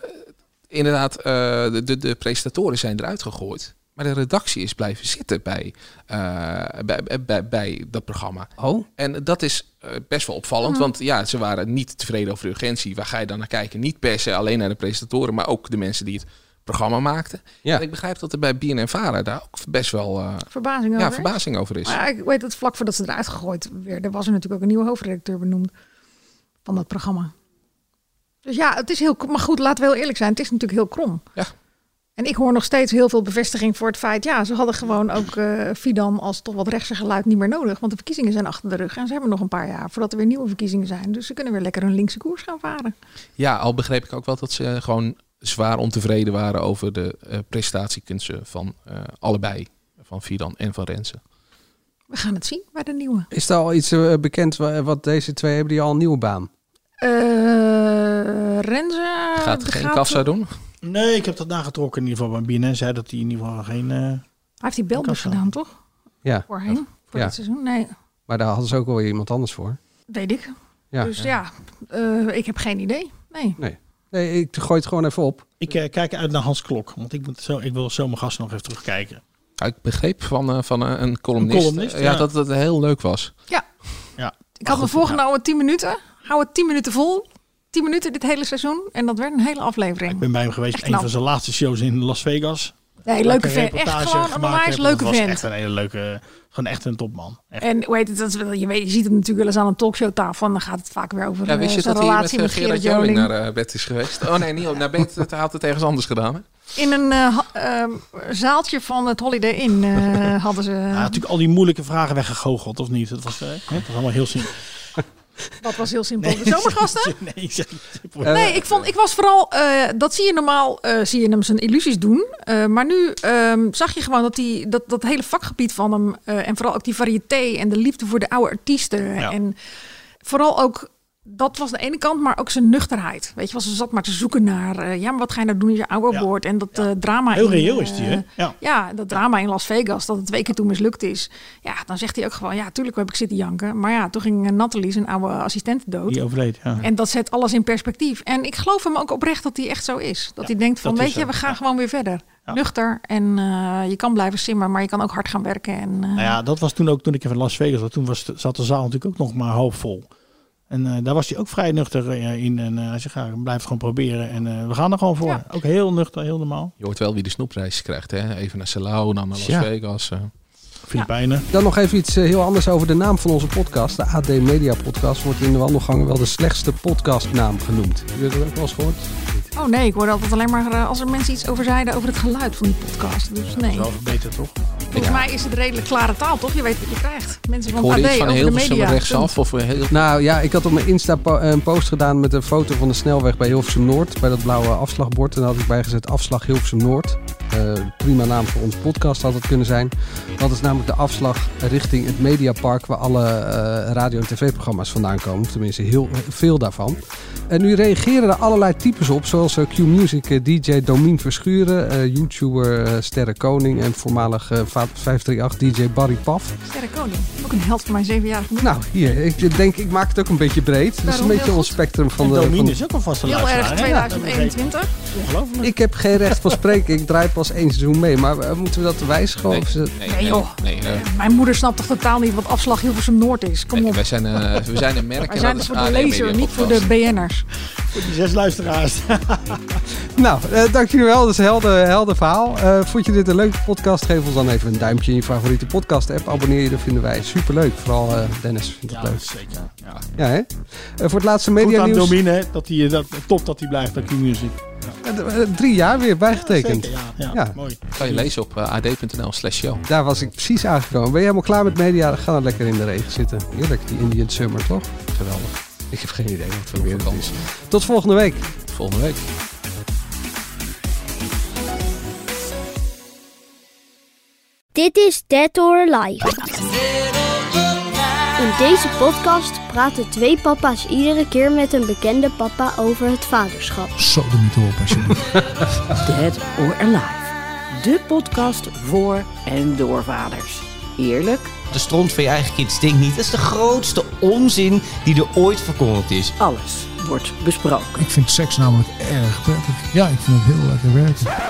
Speaker 4: inderdaad eh, de, de, de presentatoren zijn eruit gegooid. Maar de redactie is blijven zitten bij, eh, bij, bij- bij, bij dat programma.
Speaker 7: Oh,
Speaker 4: En dat is eh, best wel opvallend. Want ja, ze waren niet tevreden over de urgentie. Waar ga je dan naar kijken? Niet per se alleen naar de presentatoren, maar ook de mensen die het programma maakten.
Speaker 7: Ja.
Speaker 4: En ik begrijp dat er bij BNN Vara daar ook best wel eh,
Speaker 13: Verbazing
Speaker 4: ja,
Speaker 13: over.
Speaker 4: verbazing over is.
Speaker 13: Maar ja, ik weet dat vlak voordat ze eruit gegooid werden, was er natuurlijk ook een nieuwe hoofdredacteur benoemd van dat programma. Dus ja, het is heel. Maar goed, laten we heel eerlijk zijn. Het is natuurlijk heel krom.
Speaker 4: Ja.
Speaker 13: En ik hoor nog steeds heel veel bevestiging voor het feit. Ja, ze hadden gewoon ook eh Fidan als toch wat rechtse geluid niet meer nodig. Want de verkiezingen zijn achter de rug. En ze hebben nog een paar jaar voordat er weer nieuwe verkiezingen zijn. Dus ze kunnen weer lekker een linkse koers gaan varen.
Speaker 4: Ja, al begreep ik ook wel dat ze gewoon zwaar ontevreden waren over de eh, prestatiekunsten van eh, allebei. Van Fidan en van Rensen.
Speaker 13: We gaan het zien bij de nieuwe.
Speaker 7: is er al iets eh, bekend wa- wat deze twee hebben? Die al een nieuwe baan.
Speaker 13: Eh Renze.
Speaker 4: Gaat
Speaker 13: de
Speaker 4: geen
Speaker 13: gaat-
Speaker 4: kassa doen?
Speaker 12: Nee, ik heb dat nagetrokken in ieder geval. Bij BNN zei dat hij in ieder geval geen... eh,
Speaker 13: Hij heeft die belbus
Speaker 12: Kassa.
Speaker 13: gedaan, toch?
Speaker 7: Ja,
Speaker 13: Voorheen. Voor
Speaker 7: Ja.
Speaker 13: dit seizoen? Nee,
Speaker 7: maar daar hadden ze ook wel iemand anders voor.
Speaker 13: weet ik.
Speaker 7: Ja.
Speaker 13: Dus ja, eh, ik heb geen idee. Nee.
Speaker 7: Nee, ik gooi het gewoon even op.
Speaker 12: ik eh, kijk uit naar Hans Klok. Want ik, moet zo, ik wil zo mijn gast nog even terugkijken.
Speaker 4: Ja, ik begreep van, eh, van eh, een columnist,
Speaker 12: Een columnist,
Speaker 4: eh, ja,
Speaker 12: ja.
Speaker 4: dat het heel leuk was.
Speaker 13: Ik had me voorgenomen 10 minuten. Hou het 10 minuten vol. 10 minuten dit hele seizoen. En dat werd een hele
Speaker 12: Ik
Speaker 13: aflevering.
Speaker 12: ben bij hem geweest.
Speaker 13: Echt
Speaker 12: een
Speaker 13: knap.
Speaker 12: van zijn laatste shows in Las Vegas.
Speaker 13: Nee,
Speaker 12: Waar ik
Speaker 13: leuke
Speaker 12: een
Speaker 13: vent. Echt
Speaker 12: reportage
Speaker 13: gewoon een
Speaker 12: gemaakt
Speaker 13: onwijs
Speaker 12: heb.
Speaker 13: leuke
Speaker 12: Dat was echt
Speaker 13: vent.
Speaker 12: een hele leuke... Gewoon echt een topman. Echt.
Speaker 13: En hoe heet het, dat is wel- je, weet, je ziet hem natuurlijk wel eens aan een talkshowtafel. En dan gaat het vaak weer over
Speaker 4: Ja, wist
Speaker 13: eh,
Speaker 4: je
Speaker 13: zijn
Speaker 4: dat hij met
Speaker 13: relatie
Speaker 4: eh,
Speaker 13: met
Speaker 4: Gerard
Speaker 13: Gerard
Speaker 4: Joling
Speaker 13: Joling.
Speaker 4: naar eh, bed is geweest? Oh nee, niet op- naar bed. Hij had het ergens anders gedaan. Hè?
Speaker 13: In een eh, ha- ehm, zaaltje van het Holiday Inn eh, hadden ze...
Speaker 12: Hij had natuurlijk al die moeilijke vragen weggegoocheld, of niet? Dat was, eh, hè? dat was allemaal heel simpel.
Speaker 13: Dat was heel simpel. De zomergasten?
Speaker 12: Nee, ik zeg niet simpel.
Speaker 7: Eh,
Speaker 13: Nee, ik, vond, ik was vooral, eh, dat zie je normaal, eh, zie je hem zijn illusies doen. Eh, maar nu ehm, zag je gewoon dat, die, dat dat hele vakgebied van hem, eh, en vooral ook die variété en de liefde voor de oude artiesten.
Speaker 12: Ja.
Speaker 13: En vooral ook, dat was de ene kant, maar ook zijn nuchterheid. Weet je, was ze zat maar te zoeken naar, eh, ja, maar wat ga je nou doen als je ouder
Speaker 12: Ja.
Speaker 13: wordt? En dat eh, drama.
Speaker 12: Heel
Speaker 13: in,
Speaker 12: reëel is die, hè?
Speaker 13: eh,
Speaker 12: Ja.
Speaker 13: ja, dat drama in Las Vegas, dat het twee keer toen mislukt is. Ja, dan zegt hij ook gewoon, ja, tuurlijk heb ik zitten janken. Maar ja, toen ging eh, Nathalie, zijn oude assistent, dood.
Speaker 12: Die overleed, ja.
Speaker 13: En dat zet alles in perspectief. En ik geloof hem ook oprecht dat hij echt zo is. Dat hij denkt van,
Speaker 12: dat
Speaker 13: weet
Speaker 12: is
Speaker 13: je,
Speaker 12: zo.
Speaker 13: we gaan
Speaker 12: Ja.
Speaker 13: gewoon weer verder.
Speaker 12: Ja.
Speaker 13: Nuchter en eh, je kan blijven simmen, maar je kan ook hard gaan werken. En, eh,
Speaker 12: Nou ja, dat was toen ook, toen ik in Las Vegas was, toen was, de- zat de zaal natuurlijk ook nog maar hoopvol. En eh, daar was hij ook vrij nuchter eh, in. En eh, hij zei, ga, blijf het gewoon proberen. En eh, we gaan er gewoon voor.
Speaker 13: Ja.
Speaker 12: Ook heel nuchter, heel normaal.
Speaker 4: Je hoort wel wie de snoepreis krijgt. Hè? Even naar Salau, dan naar Las
Speaker 12: Ja.
Speaker 4: Vegas. eh.
Speaker 12: Filipijnen.
Speaker 7: Dan nog even iets eh, heel anders over de naam van onze podcast. De AD Media Podcast wordt in de wandelgangen wel de slechtste podcastnaam genoemd. Heb je dat ook wel eens gehoord?
Speaker 13: Oh nee, ik hoorde altijd alleen maar eh, als er mensen iets over zeiden over het geluid van die podcast. Dus nee.
Speaker 12: verbeterd, toch?
Speaker 13: Volgens mij is het redelijk klare taal, toch? Je weet wat je krijgt. Mensen van
Speaker 4: Hoor
Speaker 13: AD
Speaker 4: iets van
Speaker 13: over de
Speaker 4: Hilversum
Speaker 13: media.
Speaker 4: rechtsaf of eh, heel...
Speaker 7: Nou ja, ik had op mijn Insta po- een post gedaan met een foto van de snelweg bij Hilversum Noord. Bij dat blauwe afslagbord. En daar had ik bijgezet afslag Hilversum Noord. Eh, prima naam voor onze podcast had het kunnen zijn. Dat is namelijk de afslag richting het Mediapark waar alle eh, radio- en tv-programma's vandaan komen. Of Tenminste, heel veel daarvan. En nu reageren er allerlei types op, zoals eh, Q-Music eh, DJ Domien Verschuren, eh, YouTuber eh, Sterre Koning en voormalig eh, 538 DJ Barry Paf.
Speaker 13: Sterre Koning. Ook een held van mijn zevenjarige moeder.
Speaker 7: Nou, hier, ik denk, ik maak het ook een beetje breed. Dus
Speaker 13: Daarom
Speaker 7: een beetje
Speaker 13: heel
Speaker 7: ons spectrum van
Speaker 12: En
Speaker 7: de.
Speaker 12: Domien
Speaker 7: van de-
Speaker 12: is ook alvast een
Speaker 13: Heel
Speaker 12: luisteraar,
Speaker 13: erg
Speaker 12: hè?
Speaker 13: 2021.
Speaker 12: Ongelooflijk.
Speaker 7: Ik heb geen recht van spreken. Ik draai pas één seizoen mee. Maar eh, moeten we dat wijzigen?
Speaker 13: Oh,
Speaker 7: of is het-
Speaker 13: Nee, joh. Mijn moeder snapt toch totaal niet wat afslag Hilversum Noord is. Kom op.
Speaker 4: Wij zijn, eh, we zijn een merk
Speaker 13: Wij
Speaker 4: en
Speaker 13: zijn
Speaker 4: dat
Speaker 13: er
Speaker 4: is
Speaker 13: voor
Speaker 4: AD
Speaker 13: de
Speaker 4: Media
Speaker 13: lezer, niet voor de
Speaker 4: E Podcast.
Speaker 13: BN'ers.
Speaker 12: Voor die zes luisteraars.
Speaker 7: Nou, eh, dank jullie wel. Dat is een helder, helder verhaal. Eh, vond je dit een leuke podcast? Geef ons dan even een duimpje in je favoriete podcast-app. Abonneer je, dat vinden wij superleuk. Vooral eh, Dennis vindt het
Speaker 12: Ja,
Speaker 7: leuk.
Speaker 12: zeker. Ja.
Speaker 7: Ja, hè? Eh, voor het laatste
Speaker 12: Goed aan
Speaker 7: media-nieuws.
Speaker 12: Domien, hè, dat hij, eh, dat, top dat hij blijft bij Q-Music.
Speaker 7: Eh, eh, drie jaar weer bijgetekend.
Speaker 12: Zeker, ja. Ja,
Speaker 7: Ja.
Speaker 12: mooi.
Speaker 4: Kan je lezen op eh, ad.nl slash show.
Speaker 7: Daar was ik precies aangekomen. Ben je helemaal klaar met media? Ga dan lekker in de regen zitten. Heerlijk, die Indian Summer, toch?
Speaker 4: Geweldig.
Speaker 7: Ik heb geen idee wat voor weer het is. Tot volgende week.
Speaker 4: Volgende week.
Speaker 16: Dit is Dead or Alive. In deze podcast praten twee papa's iedere keer met een bekende papa over het vaderschap.
Speaker 17: Zo de mythe op, alsjeblieft.
Speaker 18: Dead or Alive. De podcast voor en door vaders. Eerlijk,
Speaker 19: De stront van je eigen kind stinkt niet. Dat is de grootste onzin die er ooit verkondigd is.
Speaker 18: alles wordt besproken.
Speaker 17: Ik vind seks namelijk erg prettig. Ja, ik vind het heel lekker werken.